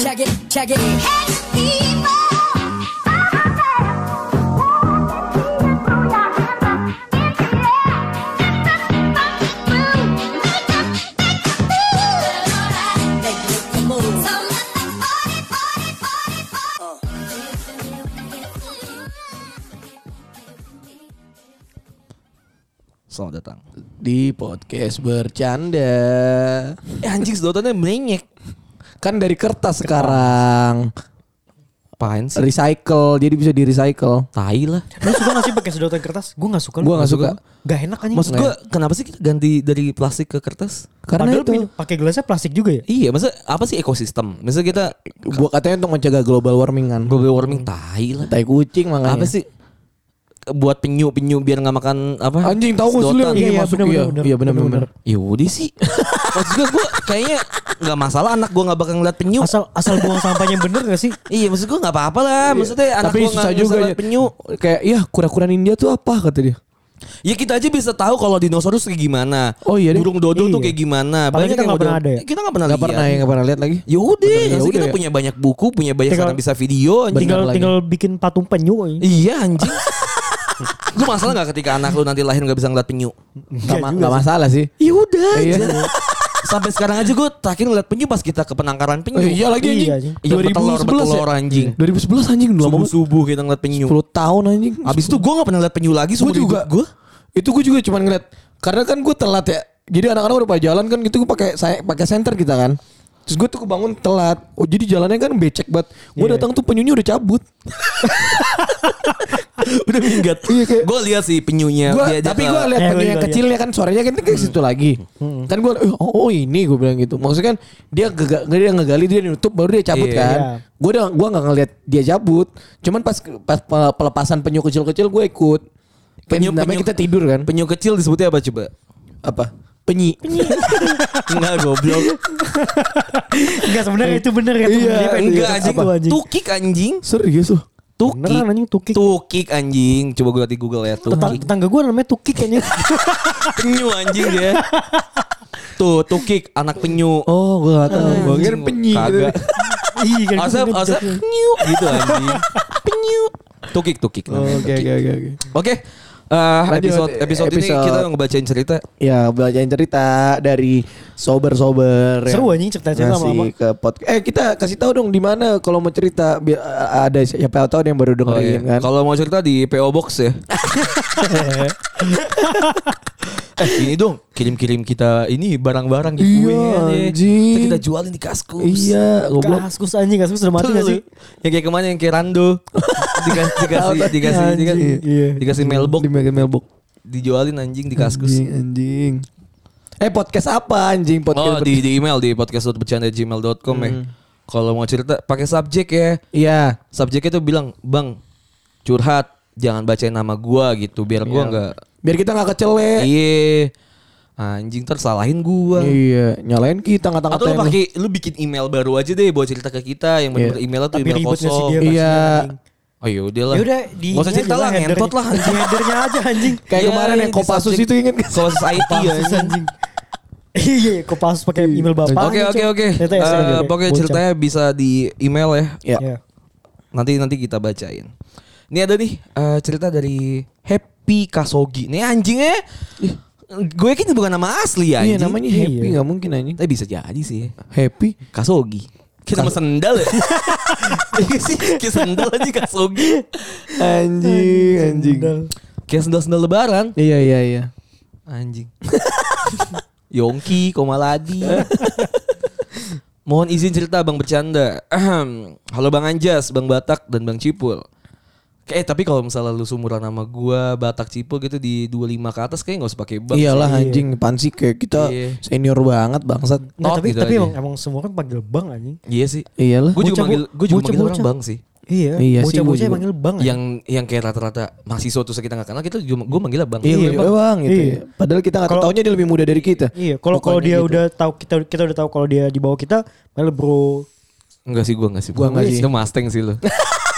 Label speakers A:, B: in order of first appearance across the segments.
A: Check it. Make make the move.
B: Selamat datang.
C: di podcast bercanda.
B: Eh anjing sedotannya melenyek.
C: Kan dari kertas sekarang
B: Apaan sih?
C: recycle, jadi bisa di recycle.
B: Tai lah.
D: Lu suka gak sih pakai sedotan kertas? Gue gak suka.
C: Gue nggak suka
D: Gak enak anjing.
B: Maksud gue kenapa sih kita ganti dari plastik ke kertas?
C: karena
D: Padahal
C: itu.
D: pin- pakai gelasnya plastik juga ya?
B: Iya, masa apa sih ekosistem? Masa kita
C: Gua katanya untuk mencegah global warming kan.
B: global warming tai lah.
C: Tai ya. kucing makanya.
B: Apa sih buat penyu-penyu biar nggak makan apa?
C: Anjing tahu gue
B: sedotan.
C: Iya,
D: Iya,
C: masuk,
D: bener,
C: iya,
D: bener,
C: iya benar
D: bener,
C: benar.
B: Ya udah sih. Maksud gue, gue kayaknya nggak masalah anak gue nggak bakal ngeliat penyu.
D: Asal asal buang sampahnya bener gak sih?
B: Iya maksud gue gak apa-apa lah Maksudnya anak
C: Tapi
B: gue
C: susah
B: gak
C: juga
B: masalah
C: ya.
B: penyu
C: Kayak ya kura-kura India tuh apa kata dia?
B: Ya kita aja bisa tahu kalau dinosaurus kayak gimana
C: Oh, iya deh.
B: Burung dodo tuh
D: Iya.
B: kayak gimana
D: Padahal kita
B: yang
D: nggak pernah
B: udah-
D: ada ya?
B: Kita gak Nah, pernah
C: Gak pernah ya, gak pernah lihat lagi.
B: Yaudah,
C: Bener,
B: maksudnya kita
C: yaudah ya.
B: punya banyak buku, punya banyak
D: Tinggal-
B: sekarang bisa video anjing.
D: tinggal
C: lagi.
D: tinggal bikin patung penyu. woy.
B: Iya anjing. lu masalah gak ketika anak lu nanti lahir gak bisa ngeliat penyu?
C: Gak, ma- gak masalah sih.
B: Ya udah
C: Iya.
B: aja. Sampai sekarang aja gue terakhir ngeliat penyu pas kita ke penangkaran penyu.
C: Oh, iya lagi
D: Iya,
C: anjing.
D: anjing.
B: Iya, bertelur,
C: 2011 ya?
B: bertelur, anjing.
C: 2011 anjing dua
B: Subuh
C: banget.
B: subuh kita ngeliat penyu.
C: 10 tahun anjing.
B: Abis itu gue gak pernah ngeliat penyu lagi.
C: gue
B: seumur
C: juga
B: hidup Gue
C: itu gue juga cuman ngeliat karena kan gue telat ya jadi anak-anak udah pada jalan kan gitu gue pakai saya pakai senter kita kan terus gue tuh kebangun telat oh jadi jalannya kan becek banget gue
D: Iya.
C: datang tuh penyunya udah cabut
B: udah minggat.
C: Iya, kayak-
B: Gue lihat sih penyunya.
C: Gua-
B: Dia- dia
C: tapi
B: ke-
C: gue lihat
D: Eh,
C: penyu
D: gua
C: yang
D: juga
C: kecilnya kan suaranya kan ke situ lagi kan gue eh, oh, oh ini gue bilang gitu maksudnya kan dia gega- dia ngegali dia nutup baru dia cabut
B: Iya.
C: kan
D: Iya.
C: gue udah gue nggak ngeliat dia cabut cuman pas pas pe- pelepasan penyu kecil-kecil gue ikut
B: Penyu-
C: penyu, namanya
B: penyu-
C: kita tidur kan
B: Penyu kecil disebutnya apa coba?
C: apa penyi
B: Enggak goblok.
D: Enggak sebenarnya itu bener ya.
C: Iya,
D: Dia pengen
B: Enggak
D: gelas
B: anjing.
D: apa, anjing.
B: Tukik anjing.
C: serius loh
B: Tukik.
D: Beneran anjing tukik.
B: Tukik anjing. Coba gue lihat di Google ya.
D: Tetang-
B: Tukik.
D: Tetangga gue namanya tukik kayaknya.
B: penyu anjing dia. Tuh tukik anak penyu.
C: ya. Oh, gue gak tau. Gue kira
B: Anjing,
C: penyi gitu.
B: kagak.
D: Iya kan.
B: Asa asa penyu gitu anjing. Penyu. Tukik tukik. namanya,
C: Oh, Oke,
B: tukik.
C: oke, oke. oke.
B: Oh, Oke. Eh,
C: Lanjut,
B: episode,
C: eh,
B: episode ini
C: episode.
B: kita ngebacain cerita
C: Ya, bacain cerita dari sober-sober. yang
D: Seru anjing cerita-cerita
C: ngasih
D: lama-lama.
C: ke podcast. Eh, kita kasih tahu dong di mana kalau mau cerita biar eh, ada siapa tahu ada yang
B: Oh,
C: baru
B: iya.
C: dengerin kan.
B: Kalau mau cerita di PO Box ya. eh, ini dong kirim-kirim kita ini barang-barang
C: Iya,
B: nih.
C: anjing.
B: Terus Kita jualin di kaskus.
C: Iya, goblok.
D: Kaskus anjing, kaskus udah mati
B: Tuh,
D: gak sih?
B: Yang kayak kemana yang kayak Rando. Dikas- dikasih dikasih dikasih kan. dikasih,
C: Iya.
B: mailbox
C: Di Iya, mailbox.
B: dijualin anjing di kaskus.
C: Anjing, anjing. Eh, podcast apa anjing?
B: Oh
C: Podcast
B: di, di email di podcast.bercanda@gmail.com ya.
D: Hmm.
B: Kalau mau cerita pakai subjek ya.
C: Iya.
B: Subjeknya tuh bilang, "Bang, curhat, jangan bacain nama gua gitu biar gua
D: Iya.
B: nggak
C: Iya. Biar kita nggak
D: Eh.
C: kecele.
B: Iya. Anjing tersalahin gua.
C: Iya, nyalain kita ngata-ngatain.
B: Atau lu
C: lu.
B: pakai lu bikin email baru aja deh buat cerita ke kita yang bener
C: Iya.
B: emailnya tuh
D: Tapi
B: email
D: ribet gak sih dia?
B: kosong.
C: Iya.
B: Oh yaudah lah.
D: Ya udah di
B: Gak usah cerita lah ngentot lah
D: Di headernya aja anjing.
C: Kayak
B: Iya,
C: kemarin yang
B: di
C: Kopassus
B: subjek.
C: itu inget gak?
B: Kopassus IT ya.
D: Kopassus anjing. Iya, Kopassus pakai email bapak. gitu,
B: Oke oke oke.
D: Ternyata
B: Eh,
D: SN juga.
B: Pokoknya
D: ya, Bocah.
B: ceritanya bisa di email ya.
C: Ya.
D: Iya.
B: Nanti nanti kita bacain. Ini ada nih eh, cerita dari Happy Kasogi. Nih anjingnya. Gue yakin bukan nama asli ya anjing.
C: Iya namanya
D: Iya.
C: Happy nggak mungkin anjing.
B: Tapi bisa jadi sih.
C: Happy.
B: Kasogi. Kita sama sendal ya. Iya sih, kayak sendal aja Kasogi.
C: Anjing, anjing.
D: Sendal.
B: Kayak sendal-sendal lebaran.
C: Iya iya iya.
B: Anjing. Yongki, Komaladi. Mohon izin cerita Bang bercanda. Ahem. Halo Bang Anjas, Bang Batak dan Bang Cipul. Eh tapi kalau misalnya lu sumuran sama gua Batak Cipul gitu di 25 ke atas kayaknya gak usah pakai bang.
C: Iyalah
D: iya.
C: anjing pansi kayak kita
B: Iya.
C: senior banget bangsat.
D: Nggak,
B: Tot
D: Eh, tapi
B: gitu
D: tapi
B: aja.
D: emang, emang semua kan panggil bang anjing.
B: Iya sih.
C: Iyalah.
B: Gue juga
D: Bocah-
B: manggil gue juga
D: bocah-
B: manggil orang
D: bocah.
B: bang sih.
C: Iya
D: Iya,
C: sih, gua
D: bocah-bocah
C: juga.
D: yang panggil bang anjing.
B: Yang yang kayak rata-rata mahasiswa terus kita nggak kenal kita juga gue manggilnya bang.
C: Iya, gue juga, bang gitu.
D: Iya.
C: ya. Padahal kita nggak tahu
D: Kalau-
C: taunya dia lebih muda dari kita.
D: Iya, kalau kalau
C: Pokoknya
D: dia
C: gitu.
D: udah tahu kita kita udah tahu kalau dia di bawah kita, malah bro.
B: Enggak sih gue enggak sih.
C: Gua nggak sih.
B: Itu Mustang sih lu.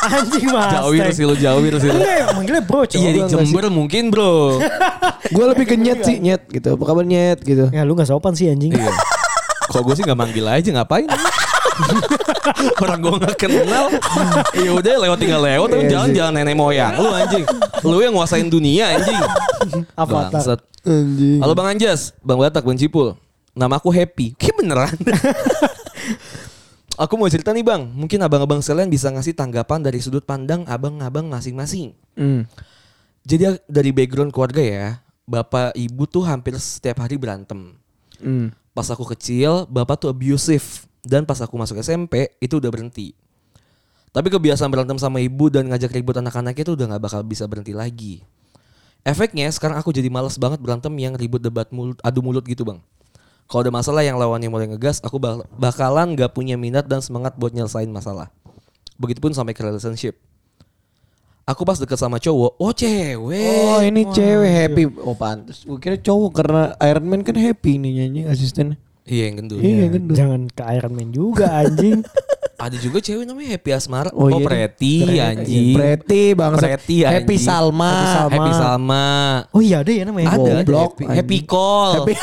D: Anjing mas.
B: jauhir sih lu, jauhir sih lu.
D: Enggak, emang manggilnya bro, cowok.
B: Iya di
C: Iya, gua nggak
B: Jember mungkin bro.
C: gue lebih ke nyet sih nyet
D: Iya.
C: gitu. Apa kabar nyet gitu.
D: Ya lu gak sopan sih anjing.
B: Iya. Kok gue sih gak manggil aja ngapain? Orang gue gak kenal. Ya udah lewat tinggal lewat. Tapi
D: Iya
B: jalan
D: sih.
B: jalan nenek moyang. Lu anjing. Lu yang nguasain dunia anjing.
D: Avatar.
B: Bangsat.
C: Anjing.
B: Halo Bang Anjas, Bang Batak, Bang Cipul. Nama aku Happy. Kayak beneran. aku mau cerita nih Bang. Mungkin abang-abang sekalian bisa ngasih tanggapan dari sudut pandang abang-abang masing-masing.
C: Hmm.
B: Jadi dari background keluarga ya, bapak ibu tuh hampir setiap hari berantem.
C: Hmm.
B: Pas aku kecil, bapak tuh abusive dan pas aku masuk SMP itu udah berhenti. Tapi kebiasaan berantem sama ibu dan ngajak ribut anak-anaknya itu udah nggak bakal bisa berhenti lagi. Efeknya sekarang aku jadi malas banget berantem yang ribut debat mulut, adu mulut gitu bang. Kalau ada masalah yang lawannya mulai ngegas, aku bak- bakalan gak punya minat dan semangat buat nyelesain masalah. Begitupun sampai ke relationship. Aku pas deket sama cowok, oh cewek.
C: Oh ini
D: iya.
C: cewek happy. Oh pantas. Gue kira cowok karena Iron Man kan happy nih nyanyi asistennya.
B: Iya yang gendut.
C: Iya,
D: Ya,
C: gendut.
D: Jangan ke Iron Man juga anjing.
B: Ada juga cewek namanya Happy Asmara.
C: Oh,
B: Oh,
C: iya,
B: Preti anjing.
C: Pretty bangsa.
B: Pretty,
C: Happy
B: anjing.
C: Salma.
D: Happy Salma.
B: Happy Salma.
D: Oh iya ada ya namanya.
B: Ada, ada
C: goblok,
B: happy,
C: anjing.
B: happy call.
C: Happy.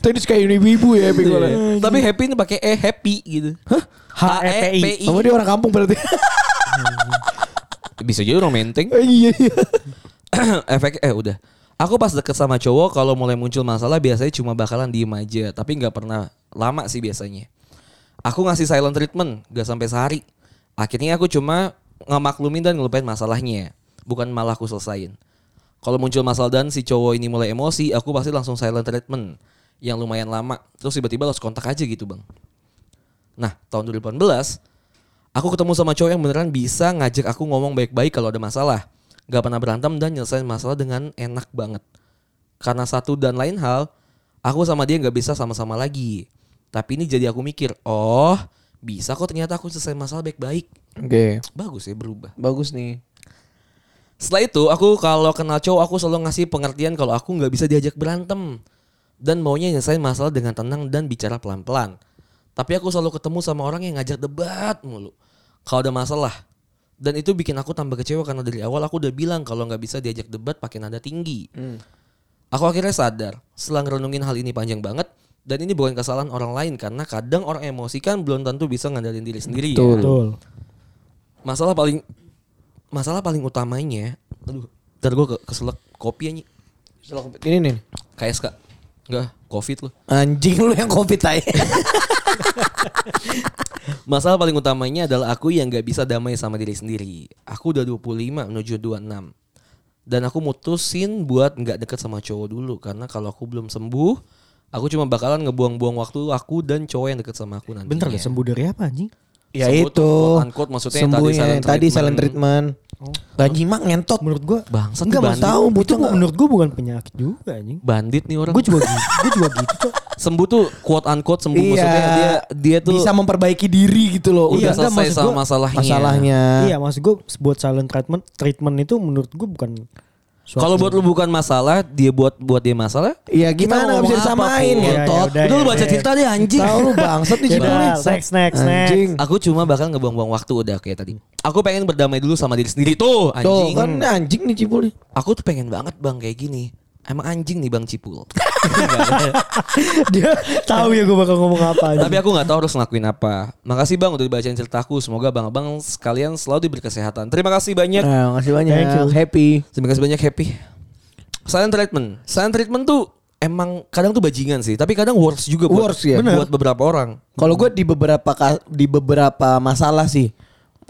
C: Tuh ini kayak ini ibu ya happy gue.
B: Iya. Tapi happy ini pakai e happy gitu. Hah?
D: H E P I.
C: Kamu dia orang kampung berarti.
B: Bisa jadi orang menteng.
C: Iya iya.
B: Efek eh udah. Aku pas deket sama cowok kalau mulai muncul masalah biasanya cuma bakalan diem aja, tapi nggak pernah lama sih biasanya. Aku ngasih silent treatment, gak sampai sehari. Akhirnya aku cuma ngemaklumin dan ngelupain masalahnya, bukan malah aku selesain. Kalau muncul masalah dan si cowok ini mulai emosi, aku pasti langsung silent treatment yang lumayan lama. Terus tiba-tiba harus kontak aja gitu bang. Nah, tahun 2018 aku ketemu sama cowok yang beneran bisa ngajak aku ngomong baik-baik kalau ada masalah. Gak pernah berantem dan nyelesain masalah dengan enak banget. Karena satu dan lain hal, aku sama dia nggak bisa sama-sama lagi. Tapi ini jadi aku mikir, oh bisa kok ternyata aku selesai masalah baik-baik.
C: Oke.
B: Bagus ya berubah.
C: Bagus nih.
B: Setelah itu aku kalau kenal cowok aku selalu ngasih pengertian kalau aku nggak bisa diajak berantem dan maunya nyelesain masalah dengan tenang dan bicara pelan-pelan. Tapi aku selalu ketemu sama orang yang ngajak debat mulu. Kalau ada masalah dan itu bikin aku tambah kecewa karena dari awal aku udah bilang kalau nggak bisa diajak debat pakai nada tinggi. Aku akhirnya sadar setelah ngerenungin hal ini panjang banget dan ini bukan kesalahan orang lain karena kadang orang emosi kan belum tentu bisa ngandalin diri sendiri. ya.
C: Betul.
D: Betul.
B: Masalah paling masalah paling utamanya, aduh, ntar gue keselak kopi aja.
C: Ini nih.
B: KSK. Enggak, Covid lu.
C: Anjing lu yang covid aja.
B: Masalah paling utamanya adalah aku yang gak bisa damai sama diri sendiri. Aku udah 25 menuju 26. Dan aku mutusin buat nggak deket sama cowok dulu karena kalau aku belum sembuh, aku cuma bakalan ngebuang-buang waktu aku dan cowok yang deket sama aku nanti.
D: Bentar lah sembuh dari apa anjing?
C: ya
B: Sebut,
C: itu.
B: quote unquote, maksudnya yang tadi
C: Sembuhnya,
B: silent
C: tadi
B: treatment.
C: silent treatment. Gaji mak ngentot.
D: Menurut gua
B: Bangsat
C: Enggak
B: tuh
C: mau
B: bandit.
C: tahu
D: itu
C: bocah
D: bu- menurut gua bukan penyakit juga anjing.
B: Bandit nih orang.
D: Gua juga gitu, gua juga gitu Cok.
B: sembuh tuh quote unquote sembuh
C: Iya.
B: maksudnya dia dia tuh
C: bisa memperbaiki diri gitu loh.
B: udah
D: Iya, enggak,
B: selesai
D: maksud
B: sama
D: gua
B: masalahnya.
C: Masalahnya.
D: Iya, maksud gue buat silent treatment treatment itu menurut gue bukan suatu-
B: Kalau buat lu bukan masalah, dia buat buat dia masalah.
C: Iya
B: Kita
C: gimana
B: ngomong
C: bisa
B: apa, Pur?
C: disamain
D: Iya,
C: ngentot.
D: yaudah,
B: Itu lu
D: ya,
B: baca
D: ya.
B: cerita deh anjing. Iya.
C: Tahu lu bangsat nih
D: Yaudah,
C: judulnya.
D: next next next.
C: Anjing.
B: Aku cuma bakal ngebuang-buang waktu udah kayak tadi. Aku pengen berdamai dulu sama diri sendiri tuh anjing.
C: Tuh kan anjing nih Cipul nih.
B: Aku tuh pengen banget bang kayak gini. Emang anjing nih bang Cipul.
D: Dia tahu ya gue bakal ngomong apa anjing.
B: Tapi aku nggak tahu harus ngelakuin apa. Makasih bang udah dibacain ceritaku. Semoga bang-bang sekalian selalu diberi kesehatan. Terima kasih banyak.
C: Nah, makasih banyak.
D: Thank you.
C: Happy.
B: Terima kasih banyak happy. Silent treatment. Silent treatment tuh emang kadang tuh bajingan sih. Tapi kadang works juga buat,
C: Works, ya.
B: buat beberapa orang.
C: Kalau gue di beberapa ka- di beberapa masalah sih.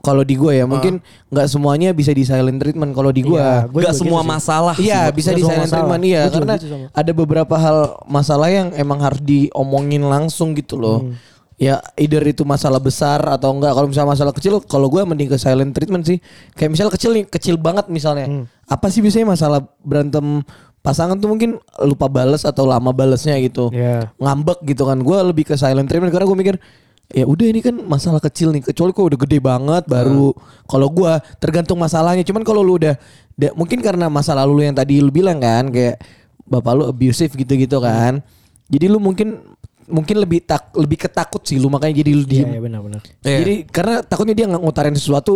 C: Kalau di gue ya mungkin nggak semuanya bisa di silent treatment kalau di gue.
D: Iya, gua
B: Gak
D: juga
B: semua
D: gitu sih.
B: masalah. sih
C: Iya
B: buat-
C: bisa
D: Nggak
C: di
D: semua
C: silent
D: masalah.
C: treatment iya
D: Gua juga
C: karena
D: gitu sama.
C: ada beberapa hal masalah yang emang harus diomongin langsung gitu loh.
D: Hmm.
C: Ya either itu masalah besar atau enggak kalau misalnya masalah kecil kalau gue mending ke silent treatment sih. Kayak misalnya kecil nih kecil banget misalnya.
D: Hmm.
C: Apa sih biasanya masalah berantem pasangan tuh mungkin lupa bales atau lama balesnya gitu.
D: Iya.
C: Ngambek gitu kan. Gue lebih ke silent treatment karena gue mikir ya udah ini kan masalah kecil nih kecuali kok udah gede banget baru
D: Hmm.
C: kalau gua tergantung masalahnya cuman kalau lu udah da- mungkin karena masa lalu lu yang tadi lu bilang kan kayak bapak lu abusive gitu-gitu
D: Hmm.
C: kan jadi lu mungkin mungkin lebih tak lebih ketakut sih lu makanya jadi lu
D: Iya,
C: diem
D: iya benar benar.
B: Iya.
C: jadi karena takutnya dia nggak ngutarin sesuatu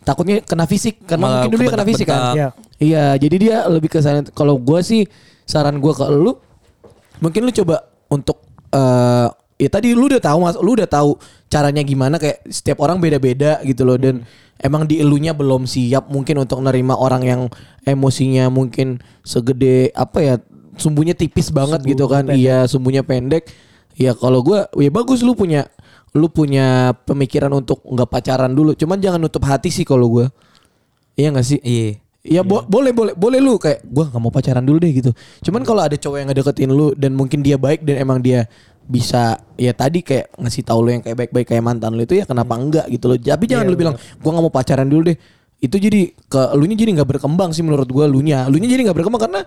C: takutnya kena fisik karena
B: Malah
C: mungkin dulu dia kena fisik kan
D: Iya.
C: Iya, jadi dia lebih ke sana. Kalau gua sih saran gua ke lu, mungkin lu coba untuk eh, ya tadi lu udah tahu Mas, lu udah tahu caranya gimana kayak setiap orang beda-beda gitu loh dan emang di elunya belum siap mungkin untuk nerima orang yang emosinya mungkin segede apa ya sumbunya tipis banget gitu kan. Iya, sumbunya pendek. Ya kalau gua ya bagus lu punya lu punya pemikiran untuk nggak pacaran dulu. Cuman jangan nutup hati sih kalau gua. Iya gak sih?
B: Iya.
C: Ya bo- boleh boleh boleh lu kayak gua nggak mau pacaran dulu deh gitu. Cuman kalau ada cowok yang ngedeketin lu dan mungkin dia baik dan emang dia bisa ya tadi kayak ngasih tahu lu yang kayak baik-baik kayak mantan lu itu ya kenapa enggak gitu loh. Tapi jangan
B: Iya,
C: lu bilang gua nggak mau pacaran dulu deh. Itu jadi ke elunya jadi nggak berkembang sih menurut gua elunya. Elunya jadi nggak berkembang karena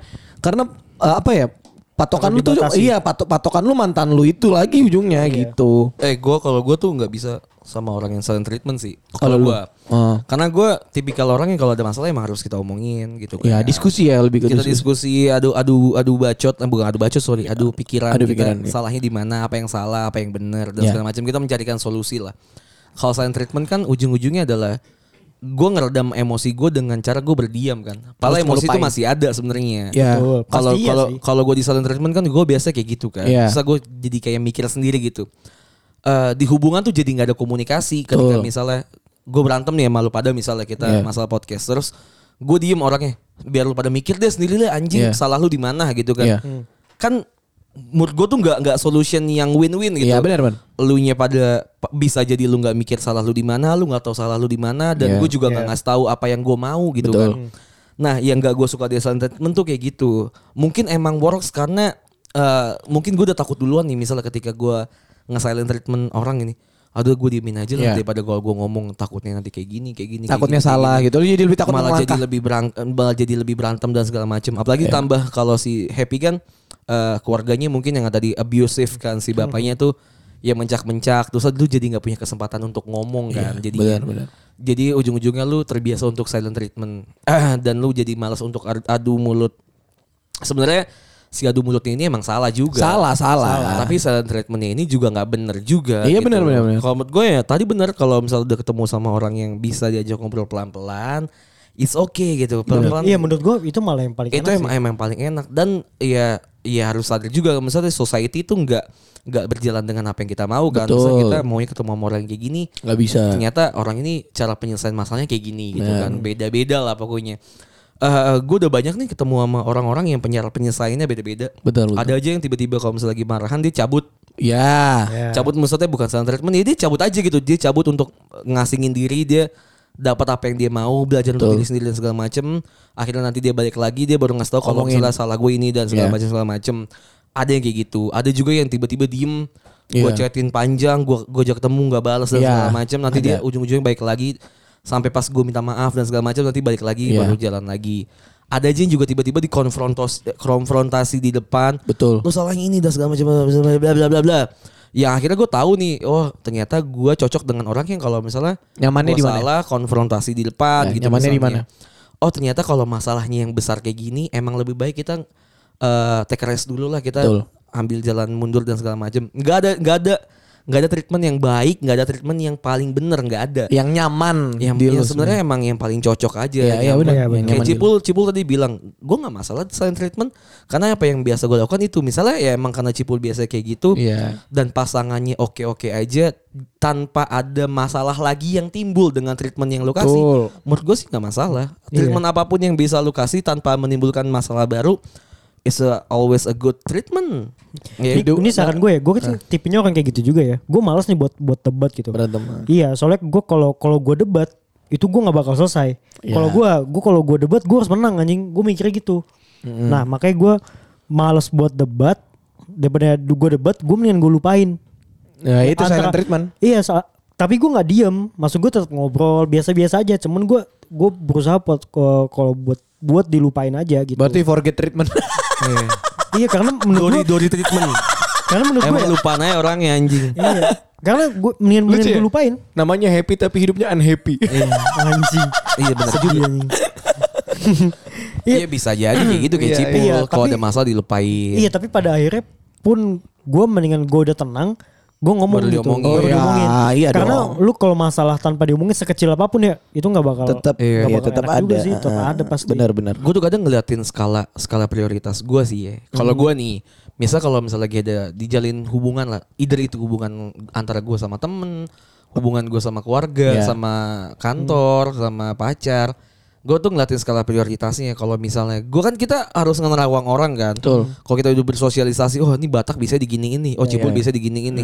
C: karena eh, apa ya? Patokan lu tuh iya patok patokan lu mantan lu itu lagi ujungnya gitu.
B: Eh gue kalau gue tuh nggak bisa sama orang yang silent treatment sih.
C: Kalau
B: Kalau
C: lu?
B: gue,
C: Ah.
B: karena gue tipikal orang yang kalau ada masalah emang harus kita omongin gitu.
C: Ya
B: kayak.
C: diskusi ya lebih ke
B: kita
C: diskusi.
B: diskusi, adu adu adu bacot, eh, bukan adu bacot sorry, adu pikiran,
C: Adu
B: kita
C: pikiran, iya.
B: salahnya di mana, apa yang salah, apa yang benar dan
C: Iya.
B: segala macam. Kita mencarikan solusi lah. Kalau silent treatment kan ujung-ujungnya adalah gue ngeredam emosi gue dengan cara gue berdiam kan. Padahal emosi
C: Harus
B: itu
C: ngelupain.
B: masih ada sebenarnya.
C: Ya.
D: Betul. Pasti
B: Kalau
D: iya
B: kalau
D: sih.
B: kalau gue di silent treatment kan gue biasa kayak gitu kan.
C: Iya.
B: Terus gue jadi kayak mikir sendiri gitu. Eh di hubungan tuh jadi nggak ada komunikasi ketika
C: Betul.
B: misalnya gue berantem nih sama lu pada misalnya kita
C: Iya.
B: masalah podcast terus gue diem orangnya biar lu pada mikir deh sendiri lah anjing
C: Iya.
B: salah lu di mana gitu kan.
C: Iya.
B: Kan menurut gue tuh nggak nggak solution yang win-win gitu.
C: Iya benar, Man.
B: Elunya pada pa- bisa jadi lu nggak mikir salah lu di mana, lu nggak tahu salah lu di mana, dan
C: Iya.
B: gue juga nggak ngasih tahu apa yang gue mau gitu
C: Betul.
B: kan. Nah, yang nggak gue suka di silent treatment tuh kayak gitu. Mungkin emang works karena eh, mungkin gue udah takut duluan nih misalnya ketika gue nge-silent treatment orang ini. Aduh gue diemin aja lah
C: Iya.
B: daripada gue gue ngomong takutnya nanti kayak gini kayak gini. kayak gini,
C: Takutnya
B: kayak
C: salah
B: gini."
C: gitu. Lu jadi lebih takut
B: malah
C: melangkah. Iya.
B: jadi lebih berang- malah jadi lebih berantem dan segala macam. Apalagi tambah kalau si Happy kan eh, keluarganya mungkin yang tadi abusive kan si bapaknya tuh ya mencak-mencak terus lu jadi nggak punya kesempatan untuk ngomong kan. jadi
C: Iya, benar, benar.
B: Jadi ujung-ujungnya lu terbiasa untuk silent treatment Ah, dan lu jadi malas untuk ar- adu mulut. Sebenarnya si adu mulutnya ini emang salah juga.
C: Salah, salah.
B: Tapi silent treatmentnya ini juga nggak bener juga. gitu.
C: Iya, bener, bener, bener.
B: Kalau menurut gue ya tadi bener kalau misalnya udah ketemu sama orang yang bisa diajak ngobrol pelan-pelan, it's okay gitu. Pelan-pelan.
D: Iya menurut gua itu malah yang paling
B: itu
D: enak
B: emang, emang paling enak dan ya ya harus sadar juga misalnya society itu nggak nggak berjalan dengan apa yang kita mau kan. Misalnya
C: Betul. Nah.
B: kita maunya ketemu sama orang yang kayak gini,
C: Nggak bisa.
B: ternyata orang ini cara penyelesaian masalahnya kayak gini gitu
C: Nah.
B: kan beda-beda lah pokoknya Eh gue udah banyak nih ketemu sama orang-orang yang penyara penyelesaiannya beda-beda
C: Betul, betul.
B: ada aja yang tiba-tiba kalau misalnya lagi marahan dia cabut
C: Ya.
B: cabut maksudnya bukan silent treatment ya dia cabut aja gitu dia cabut untuk ngasingin diri dia dapat apa yang dia mau belajar untuk diri sendiri dan segala macem akhirnya nanti dia balik lagi dia baru ngasih tahu kalau
C: Ngomongin.
B: misalnya salah gue ini dan segala
C: Iya.
B: macem segala macem ada yang kayak gitu ada juga yang tiba-tiba diem gue
C: Iya.
B: chatin panjang gue gue ajak ketemu nggak balas dan
C: Iya,
B: segala macem nanti
C: ada.
B: dia ujung-ujungnya balik lagi sampai pas gue minta maaf dan segala macam nanti balik lagi
C: Iya.
B: baru jalan lagi ada aja yang juga tiba-tiba dikonfrontasi konfrontasi di depan
C: Betul.
B: lu salahnya ini dan segala macam bla bla bla bla bla bla yang akhirnya gue tahu nih oh ternyata gue cocok dengan orang yang kalau misalnya
C: Nyamannya
B: gua
C: di mana?
B: salah konfrontasi di depan
C: Ya,
B: gitu
C: nyamannya di
B: misalnya. oh ternyata kalau masalahnya yang besar kayak gini emang lebih baik kita eh take rest dulu lah kita
C: Betul.
B: ambil jalan mundur dan segala macam nggak ada nggak ada nggak ada treatment yang baik nggak ada treatment yang paling bener nggak ada
C: Yang nyaman.
B: yang,
C: di
B: yang
C: lu
B: sebenarnya emang yang paling cocok aja
C: Iya, iya,
B: Yang-
C: benar. Yang
D: Iya, benar.
B: Kayak
C: nyaman di lu.
B: Cipul, Cipul tadi bilang, gue nggak masalah silent treatment karena apa yang biasa gue lakukan itu. Misalnya ya emang karena Cipul biasa kayak gitu
C: Iya.
B: dan pasangannya oke-oke aja tanpa ada masalah lagi yang timbul dengan treatment yang lo
C: Betul. Iya.
B: kasih. Menurut gue sih nggak masalah. Treatment apapun yang bisa lo kasih tanpa menimbulkan masalah baru is a- always a good treatment.
C: Iya.
B: Ya,
D: Ini, ini saran gue ya, gue kan tipenya orang kayak gitu juga ya. Gue malas nih buat buat debat gitu.
C: Berantem.
D: Iya, soalnya gue kalau kalau gue debat itu gue nggak bakal selesai.
C: Iya.
D: Kalau gue gue kalau gue debat gue harus menang anjing. Gue mikirnya gitu. Nah makanya gue malas buat debat daripada gue debat gue mendingan gue lupain.
C: Nah, itu
D: Antara-
C: silent treatment.
D: Iya, so- tapi gue nggak diem. Maksud gue tetap ngobrol biasa-biasa aja. Cuman gue gue berusaha buat ke- kalau buat buat dilupain aja gitu.
C: Berarti forget treatment.
D: iya karena
B: Dori
D: menurut gue
B: Dori treatment.
D: karena menurut gue
B: emang lupa nanya orangnya anjing.
D: iya. Karena gue mendingan,
C: Lucu
D: mendingan
C: ya?
D: gue lupain.
C: Namanya happy tapi hidupnya unhappy.
D: Anjing.
B: Iya benar juga. Iya bisa jadi kayak gitu kayak
C: Iya,
B: Cipul
D: iya,
B: kalau ada
D: tapi-
B: masalah dilupain.
D: Iya tapi pada akhirnya pun gue mendingan gue udah tenang gue ngomong
B: Baru
D: gitu
B: diomongin.
C: Oh,
D: baru
C: iya,
D: diomongin.
C: iya
D: karena
C: dong.
D: lu kalau masalah tanpa diomongin sekecil apapun ya itu nggak bakal
C: tetap
D: nggak
C: iya,
D: bakal
C: tetap
D: enak
C: ada.
D: juga sih, tetap
C: Ah,
D: ada pasti
C: Benar benar. Hmm.
B: Gue tuh kadang ngeliatin skala skala prioritas gue sih ya. Kalau gue nih, misal kalau misalnya lagi ada dijalin hubungan lah either itu hubungan antara gue sama temen hubungan gue sama keluarga
C: Iya. Hmm.
B: sama kantor sama pacar gue tuh ngeliatin skala prioritasnya kalau misalnya gue kan kita harus ngenerawang orang kan
C: Betul.
B: kalau kita udah bersosialisasi oh ini batak bisa digini ini oh cipul
C: iya.
B: bisa digini ini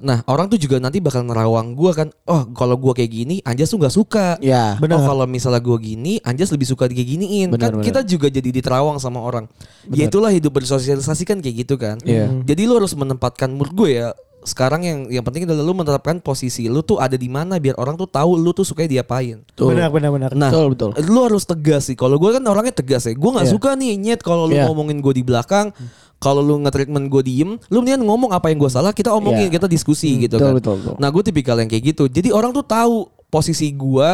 B: nah orang tuh juga nanti bakal nerawang gue kan oh kalau gue kayak gini anjas tuh nggak suka
C: Ya.
D: Bener.
B: Oh kalau misalnya gue gini, Anjas lebih suka kayak giniin.
C: Bener,
B: kan
C: bener.
B: kita juga jadi diterawang sama orang. Ya itulah hidup bersosialisasi kan kayak gitu kan.
C: Iya.
B: Jadi lu harus menempatkan menurut gue ya. Sekarang yang yang penting adalah lu menetapkan posisi lu tuh ada di mana biar orang tuh tahu lu tuh suka diapain.
C: Betul.
D: Benar benar benar.
B: Nah,
C: Betul, betul.
B: lu harus tegas sih. Kalau gue kan orangnya tegas ya. Gue nggak
C: Iya.
B: suka nih nyet kalau lu
C: Iya.
B: ngomongin gue di belakang. Kalau lu nge-treatment gue diem, lu mendingan ngomong apa yang gue salah, kita omongin,
C: Iya.
B: kita diskusi gitu
C: betul,
B: kan.
C: betul, betul.
B: Nah gue tipikal yang kayak gitu. Jadi orang tuh tahu posisi gue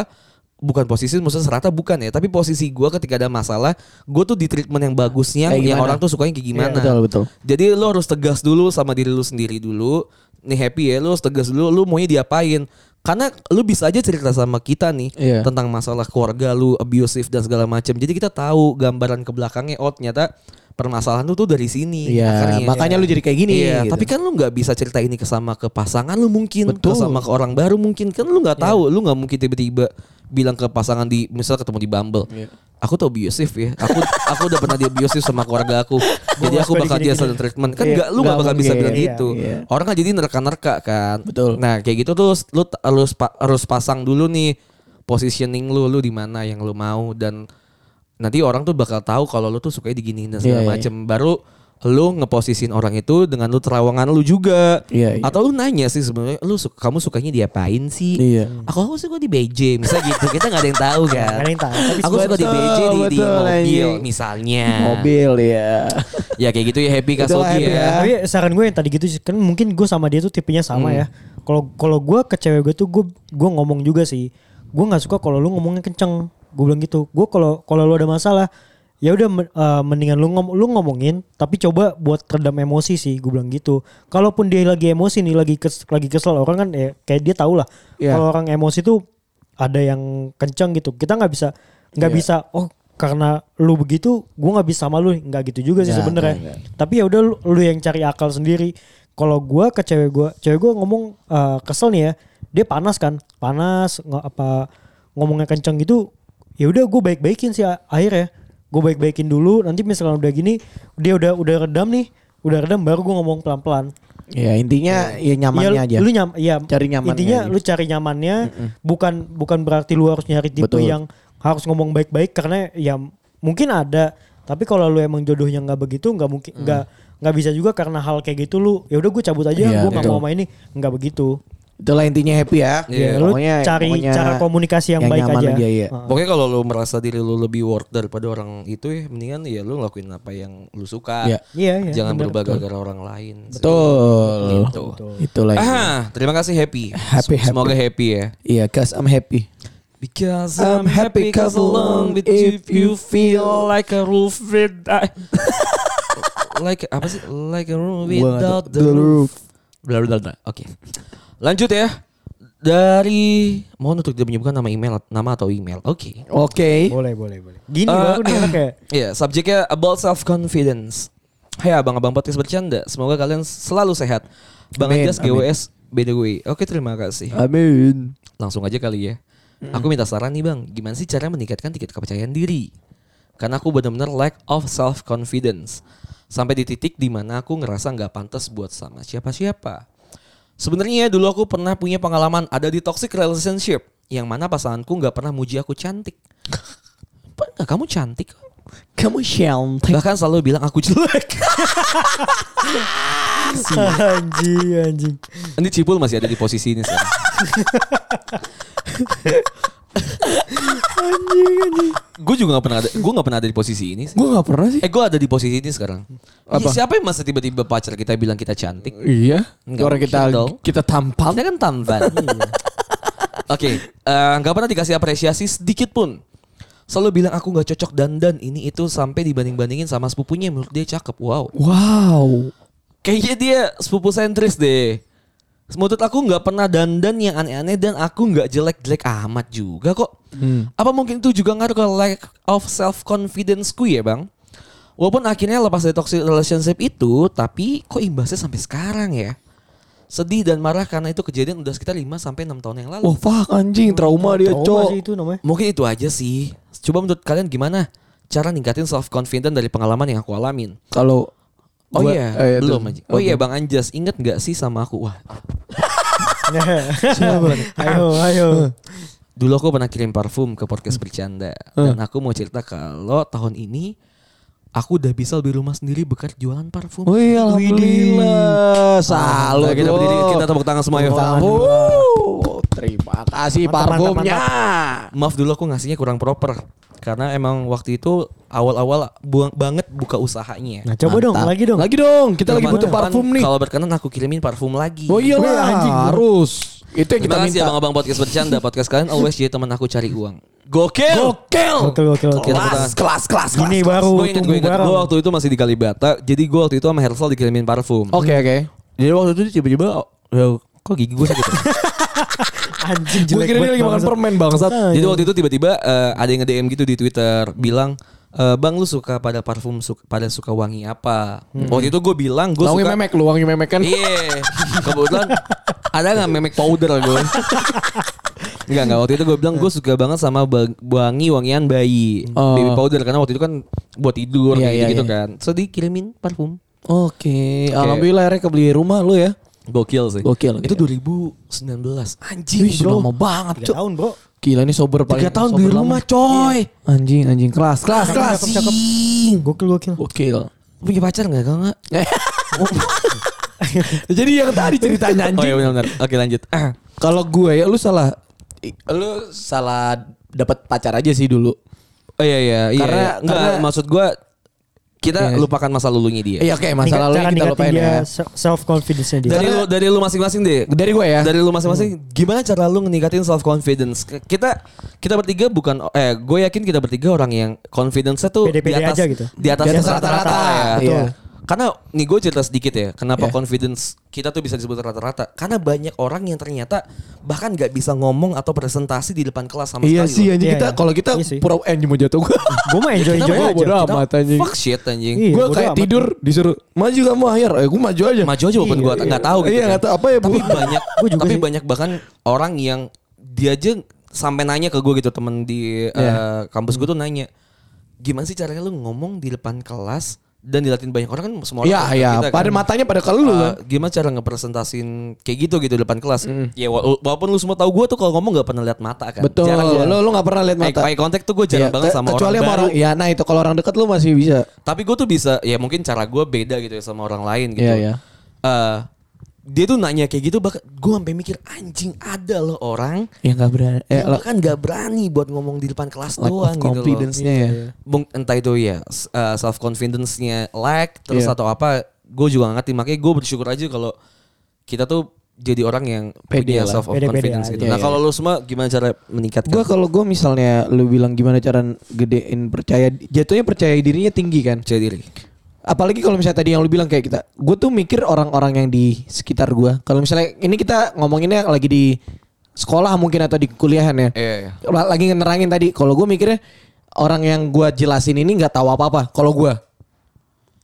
B: bukan posisi maksudnya serata bukan ya tapi posisi gue ketika ada masalah gue tuh di treatment yang bagusnya
C: Kayak
B: yang
C: gimana?
B: orang tuh sukanya kayak gimana
C: Iya, betul, betul.
B: jadi lo harus tegas dulu sama diri lu sendiri dulu nih happy ya lo harus tegas dulu lu maunya diapain karena lu bisa aja cerita sama kita nih
C: Iya.
B: tentang masalah keluarga lu abusive dan segala macam jadi kita tahu gambaran ke belakangnya oh ternyata permasalahan lu tuh dari sini
C: Iya, makanya lu jadi kayak gini,
B: Iya,
C: gitu.
B: tapi kan lu nggak bisa cerita ini ke sama ke pasangan lu mungkin, ke
C: Betul. Iya.
B: sama ke orang baru mungkin kan lu nggak tahu, lu nggak mungkin tiba-tiba bilang ke pasangan di misal ketemu di Bumble.
C: Iya.
B: Aku tuh abusive ya. Aku aku udah pernah di abusive sama keluarga aku. Jadi
D: Gua
B: aku
D: suka
B: bakal
D: digini-gini.
B: dia sudden treatment. Kan
C: Iya,
B: nggak lu nggak
C: nggak
B: bakal bisa
C: mungkin.
B: bilang
D: Iya,
B: gitu.
C: iya.
B: Orang kan jadi nerka-nerka kan.
C: Betul.
B: Nah, kayak gitu tuh lu t- harus pa- harus pasang dulu nih positioning lu lu di mana yang lu mau dan nanti orang tuh bakal tahu kalau lu tuh sukanya diginiin dan segala
C: Iya, iya.
B: macem baru lu ngeposisin orang itu dengan lu terawangan lu juga
C: Iya, iya.
B: atau lu nanya sih sebenarnya lu suka, kamu sukanya diapain sih
C: Iya.
B: aku aku suka di BJ misalnya gitu kita nggak ada yang tahu kan
D: Nggak ada yang tahu, tapi
B: aku suka di
C: Betul,
B: BJ di, di
C: betul,
B: mobil
C: anjing.
B: misalnya
C: Mobil ya.
B: ya kayak gitu ya happy
C: Itulah
B: kasogi
C: happy
B: ya
C: ya.
D: Iya. Tapi saran gue yang tadi gitu sih, kan mungkin gue sama dia tuh tipenya sama
C: Hmm.
D: ya. Kalau kalau gue ke cewek gue tuh gue gue ngomong juga sih. Gue nggak suka kalau lu ngomongnya kenceng. Gue bilang gitu. Gue kalau kalau lu ada masalah, ya udah men- eh, mendingan lu ngom lu ngomongin, tapi coba buat redam emosi sih. Gue bilang gitu. Kalaupun dia lagi emosi nih, lagi kes- lagi kesel orang kan ya kayak dia tahu lah.
C: Iya.
D: Kalau orang emosi tuh ada yang kenceng gitu. Kita nggak bisa nggak
C: Iya.
D: bisa oh karena lu begitu gue nggak bisa sama lu nggak gitu juga sih
C: Nggak,
D: sebenarnya
C: nggak, nggak.
D: tapi ya udah lu, lu yang cari akal sendiri kalau gua ke cewek gua cewek gua ngomong eh, kesel nih ya dia panas kan panas nggak apa ngomongnya kenceng gitu ya udah gue baik baikin sih a- akhirnya gue baik baikin dulu nanti misalkan udah gini dia udah udah redam nih udah redam baru gue ngomong pelan pelan
C: Ya intinya ya nyamannya aja.
D: Iya, lu nyam ya
C: Cari nyamannya
D: intinya
C: aja.
D: lu cari nyamannya bukan bukan berarti lu harus nyari tipe
C: Betul.
D: yang harus ngomong baik baik karena ya mungkin ada tapi kalau lu emang jodohnya nggak begitu nggak mungkin
C: Mm.
D: nggak nggak bisa juga karena hal kayak gitu lu ya udah gue cabut aja
C: Iya,
D: gue nggak
C: betul.
D: mau sama ini nggak begitu
C: Itulah intinya happy ya.
D: Ya, lu cari cara komunikasi yang baik
C: nyaman
D: aja.
C: iya.
D: Heeh.
B: Pokoknya kalau lu merasa diri lu lebih worth daripada orang itu ya mendingan ya lu ngelakuin apa yang lu suka.
C: Iya.
D: Iya, iya,
B: Jangan
D: benar,
B: berubah gara-gara orang lain. sih.
C: Betul.
B: Gitu.
C: Itulah. intinya.
B: Ah, terima kasih Happy.
C: Happy, happy.
B: Semoga happy ya.
C: Iya, cause I'm happy.
B: Because
C: I'm happy 'cause along with you, you feel
B: like a roof without like apa sih? Like a room
C: Gua nggak
B: without
C: tahu.
B: the roof. Blah, blah, blah. Oke. Lanjut ya. Dari mohon untuk tidak menyebutkan nama email nama atau email. Oke.
C: Oke.
D: boleh boleh boleh gini
B: Eh,
C: Ah.
D: baru nih enak ya
B: Iya, subjeknya about self confidence. Hai abang-abang podcast bercanda, semoga kalian selalu sehat. Bang
C: Amin,
B: Anjas
C: amin.
B: GWS by the way. Oke, terima kasih.
C: Amin.
B: Langsung aja kali ya. Aku minta saran nih bang, gimana sih cara meningkatkan tingkat kepercayaan diri? Karena aku benar-benar lack of self confidence sampai di titik dimana aku ngerasa nggak pantas buat sama siapa-siapa. Sebenarnya dulu aku pernah punya pengalaman ada di toxic relationship yang mana pasanganku nggak pernah muji aku cantik. Pernah kamu cantik?
C: Kamu cantik.
B: Bahkan selalu bilang aku jelek.
D: anjing anjing
B: Ini Cipul masih ada di posisi ini sekarang. Gue juga gak pernah ada, gue gak pernah ada di posisi ini. Sih.
C: Gue gak pernah sih.
B: Eh gue ada di posisi ini sekarang. Ya,
C: Apa?
B: siapa yang masa tiba-tiba pacar kita bilang kita cantik?
C: Iya.
B: Nggak
C: Orang kita
B: mungkin dong.
C: kita tampal.
B: Kita kan tampan. Oke, eh, nggak pernah dikasih apresiasi sedikit pun. Selalu bilang aku nggak cocok dandan ini itu sampai dibanding-bandingin sama sepupunya yang menurut dia cakep. Wow.
C: Wow.
B: Kayaknya dia sepupu sentris deh. Menurut aku nggak pernah dandan yang aneh-aneh dan aku nggak jelek-jelek amat
C: Hmm.
B: juga kok. Apa mungkin itu juga ngaruh ke lack of self confidence ku ya bang? Walaupun akhirnya lepas dari toxic relationship itu, tapi kok imbasnya sampai sekarang ya? Sedih dan marah karena itu kejadian udah sekitar 5 sampai 6 tahun yang lalu.
C: Wah, Oh, fuck anjing, trauma dia,
D: Trauma
C: cok.
D: sih itu namanya.
B: Mungkin itu aja sih. Coba menurut kalian gimana cara ningkatin self confidence dari pengalaman yang aku alamin?
C: Kalau
B: Oh
C: gua-
B: iya,
C: eh, itu.
B: belum aja. Oh
C: Oke.
B: iya Bang Anjas, inget nggak sih sama aku? Wah,
D: ayo, ayo.
B: dulu aku pernah kirim parfum ke podcast
C: Hmm.
B: bercanda dan aku mau cerita kalau tahun ini aku udah bisa di rumah sendiri bekerja jualan parfum.
C: Wih, Oh iya, alhamdulillah.
B: Halo,
C: Salut.
B: kita
C: lo.
B: berdiri, kita tepuk tangan semua ya.
C: Parfum. Terima kasih
D: Mantap,
C: parfumnya.
B: Maaf dulu aku ngasihnya kurang proper karena emang waktu itu awal-awal buang banget buka usahanya.
D: Nah, coba dong,
C: Mantap.
D: lagi dong.
C: Lagi dong, kita lagi
B: Kapan-
C: butuh
B: kapan
C: parfum nih.
B: Kalau berkenan aku kirimin parfum lagi.
C: Oh iya
D: Wih, anjing, gua.
C: harus. Itu yang kita
B: Terima kasih
C: minta.
B: abang-abang podcast bercanda Podcast kalian always jadi teman aku cari uang Gokil
C: Gokil.
D: Gokil, gokil, gokil.
B: Kita
C: Kelas,
B: bertahan.
C: kelas, kelas, kelas.
D: Gini
C: kelas.
D: baru
B: Gue inget,
D: tunggu
B: gue inget
D: bareng.
B: Gue waktu itu masih di Kalibata Jadi gue waktu itu sama Hersal dikirimin parfum
C: Oke, oke.
B: Jadi waktu itu tiba-tiba "Ya, Kok gigi gue sakit ya?"
D: Anjing
C: Gue
D: jelek
C: kira dia
D: banget
C: lagi makan
D: bangsat.
C: permen bangsat.
D: Ah,
B: Jadi
D: iya.
B: waktu itu tiba-tiba eh, Ada yang nge-DM gitu di Twitter Bilang "Eh, Bang lu suka pada parfum suka, Pada suka wangi apa Waktu itu gue bilang Gue
C: Wangi
B: suka
C: memek lu, wangi memek kan.
B: Iya. Kebetulan ada nggak memek powder gue? Enggak enggak waktu itu gue bilang gue suka banget sama wangi wangian bayi
C: Oh.
B: baby powder karena waktu itu kan buat tidur
C: Iya,
B: kayak
C: iya,
B: gitu
C: iya.
B: kan. So dikirimin parfum.
C: Oke, alhamdulillah akhirnya kebeli rumah lu ya.
B: Gokil sih.
C: Gokil,
B: Itu
C: gokil.
B: 2019. Anjing
C: Wih,
B: bro.
C: lama banget,
D: Tiga
C: Cok.
D: tahun, Bro.
C: Gila ini sober paling.
B: Tiga tahun
C: sober
B: beli
C: lama. Iya.
B: rumah coy.
C: Anjing, anjing. Kelas, kelas, kelas.
D: Cakep, Gokil, gokil.
C: Gokil.
B: Lu Punya pacar nggak kalau nggak?
C: Jadi yang tadi ceritanya
B: Oh iya
C: anjing.
B: benar-benar. Oke lanjut. Ah.
C: Kalau gue ya lu salah i- lu salah dapat pacar aja sih dulu.
B: Oh iya iya iya.
C: Karena-
B: iya. Nggak,
C: karena-
B: maksud gue kita
C: Oke.
B: lupakan masa lulunya dia.
C: Iya oke, masa
D: Cara
C: lalunya kita
D: ningkatin
C: lupain
D: dia
C: ya.
D: self confidence-nya dia.
B: Dari lu dari lu masing-masing deh.
C: Dari gue ya.
B: Dari lu masing-masing gimana cara lu ningkatin self confidence? Kita kita bertiga bukan eh gue yakin kita bertiga orang yang confidence-nya tuh di
D: Pede-pede
B: atas
D: aja gitu.
B: di atas,
C: Di atas
B: rata-rata,
C: rata-rata,
B: ya.
C: iya.
B: Karena nih gue cerita sedikit ya, kenapa
C: Iya.
B: confidence kita tuh bisa disebut rata-rata? Karena banyak orang yang ternyata bahkan nggak bisa ngomong atau presentasi di depan kelas sama
C: Iya
B: sekali.
C: sih
B: loh.
C: anjing
D: Iya,
C: kita
D: iya.
C: kalau kita
D: Iya sih.
C: pura eh mau jatuh gue.
D: Gue mah enjoy-enjoy
C: mah bodo
D: aja.
C: amat. anjing.
B: Fuck shit anjing.
D: Iya,
C: gue
D: bodo
C: kayak
D: amat.
C: tidur disuruh maju kamu akhir, eh gue maju aja.
B: maju aja walaupun
D: Iya,
B: gue
C: iya.
B: nggak tahu gitu
C: Iya,
B: kan.
C: nggak tahu. Apa ya, Bu?
B: tapi banyak
D: Gua juga
B: tapi
D: sih.
B: banyak bahkan orang yang dia aja sampai nanya ke gue gitu temen di
C: Iya.
B: eh, kampus gue tuh nanya gimana sih caranya lu ngomong di depan kelas dan dilatih banyak orang kan semua orang
C: Iya
B: kayak
C: iya.
B: kita kan.
C: Pada matanya pada kalau lu
B: Eh,
C: kan.
B: gimana cara ngepresentasin kayak gitu gitu di depan kelas ya wa- walaupun lu semua tahu gue tuh kalau ngomong nggak pernah lihat mata kan
C: Mm. Betul.
B: jarang
C: Lu lu nggak pernah lihat
B: Eye-
C: mata.
B: eye contact tuh gue jarang
C: Iya,
B: banget
C: ke-
B: sama
C: kecuali
B: orang, baru.
C: Iya, nah itu kalau orang dekat lu masih bisa.
B: Tapi gue tuh bisa ya mungkin cara gue beda gitu ya sama orang lain gitu.
C: Iya, iya.
B: Eh, dia tuh nanya kayak gitu bahkan gue sampai mikir anjing ada loh orang
C: Ya nggak berani.
B: yang
C: Eh,
D: kan
C: lo-
B: bahkan gak berani buat ngomong di depan kelas
C: lack
B: doang
C: of
B: gitu loh.
C: confidence-nya ya.
B: Mung- entah itu ya self confidence-nya lack terus
C: Iya.
B: atau apa gue juga gak ngerti makanya gue bersyukur aja kalau kita tuh jadi orang yang
C: Pede
B: punya
C: lah.
B: self
D: Pede-pede
B: confidence
D: aja.
B: gitu.
C: Iya,
B: Nah
C: iya.
B: kalau lu semua gimana cara meningkatkan?
C: Gua kalau gue misalnya lu bilang gimana cara gedein percaya jatuhnya percaya dirinya tinggi kan.
B: percaya diri.
C: Apalagi kalau misalnya tadi yang lu bilang kayak kita, gue tuh mikir orang-orang yang di sekitar gua. Kalau misalnya ini kita ngomonginnya lagi di sekolah mungkin atau di kuliahan ya.
B: Iya, iya.
C: Lagi ngerangin tadi, kalau gue mikirnya orang yang gua jelasin ini nggak tahu apa-apa. Kalau gua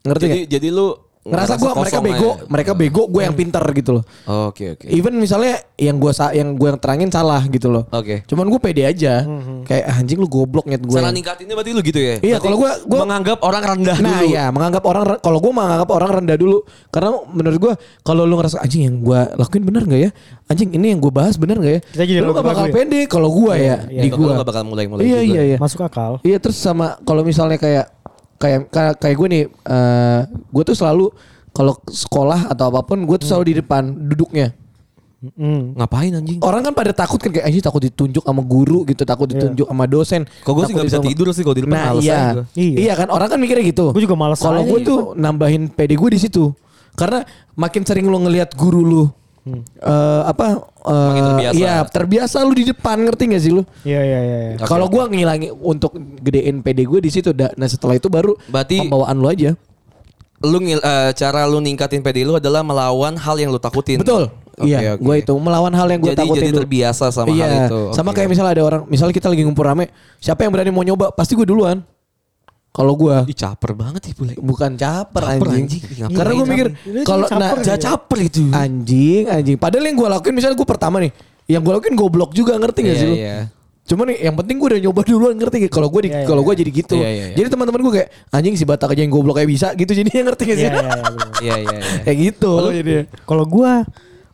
C: ngerti
B: Jadi
C: nggak?
B: jadi lu
C: Ngerasa gua mereka
B: kosong
C: bego,
B: aja. Hmm. Oh,
C: mereka bego, gue yang pintar gitu loh.
B: Oke oke.
C: Even misalnya yang gua sa- yang gua yang terangin salah gitu loh.
B: Oke.
C: Cuman gue pede aja. Kayak "Ah, anjing lu goblok nyet gue.
B: Cara ningkatinnya berarti lu gitu ya?
C: Iya,
B: Berarti
C: kalau gua- gua-
B: menganggap orang rendah
C: Nah
B: dulu.
C: ya menganggap orang re- kalau gue menganggap orang rendah dulu karena menurut gue kalau lu ngerasa anjing yang gue lakuin bener nggak ya anjing ini yang gue bahas bener nggak ya
D: Kita jadi
C: lu gak
D: ragu-ragu
C: bakal
D: ya?
C: pede kalau gue ya
D: iya.
C: di
B: Kalau
C: gue
B: lu nggak bakal mulai-mulai
C: iya
B: juga.
C: iya iya
D: Masuk akal.
C: iya terus sama kalau misalnya kayak kayak kayak, kayak gue nih eh gue tuh selalu kalau sekolah atau apapun gue tuh selalu di depan duduknya
D: Mm.
B: Ngapain anjing? Oh,
C: orang kan pada takut kan kayak anjing takut ditunjuk sama guru gitu
D: Iya.
C: takut ditunjuk sama dosen
B: Kok gue sih
C: takut
B: gak bisa
C: ditunjuk-
B: tidur sih kalau di depan
C: Nah
B: males
C: iya.
B: aja gua.
D: Iya.
C: iya, kan orang kan mikirnya gitu.
D: Gua juga males
C: Kalau
D: aja
C: gue
D: gitu.
C: tuh nambahin PD gue di situ, karena makin sering lo ngelihat guru lu
D: Hmm.
C: eh, apa? eh,
B: Makin terbiasa.
C: Iya terbiasa lu di depan ngerti gak sih lu?
D: Iya, iya, iya. iya.
B: Oke,
C: Kalau gue ngilangi untuk gedein PD gue di situ, dah. nah setelah itu baru
B: Berarti-
C: pembawaan lu aja.
B: Lu ngil- eh, cara lu ningkatin PD lu adalah melawan hal yang lu takutin.
C: Betul.
B: Oke,
C: iya,
B: oke.
C: gue itu melawan hal yang gue
B: Jadi- jadi
C: takutin dulu.
B: terbiasa sama hal itu.
C: Sama
B: Oke.
C: kayak misalnya ada orang, misalnya kita lagi ngumpul rame, siapa yang berani mau nyoba? Pasti gue duluan. Kalau gua
B: Ih caper banget sih bule.
C: bukan caper,
B: Caper,
C: anjing.
B: anjing. Ngapain
C: Karena gua
D: caper?
C: mikir
D: Lu
C: kalau
D: cuma
C: nah,
D: caper ya?
B: Ja caper itu.
C: anjing anjing. Padahal yang gua lakuin misalnya gua pertama nih, yang gua lakuin goblok juga ngerti gak
B: Iya,
C: sih lu?
B: iya.
C: Cuman yang penting gue udah nyoba duluan ngerti gak? Kalau gue di
D: Iya, iya,
C: kalau gue
D: iya.
C: jadi gitu.
B: Iya, iya, iya.
C: Jadi teman-teman gue kayak anjing si Batak aja yang goblok kayak bisa gitu jadinya ngerti gak sih?
D: Iya, iya, iya, bener.
B: Iya iya iya.
C: kayak gitu. jadinya.
D: Kalau gua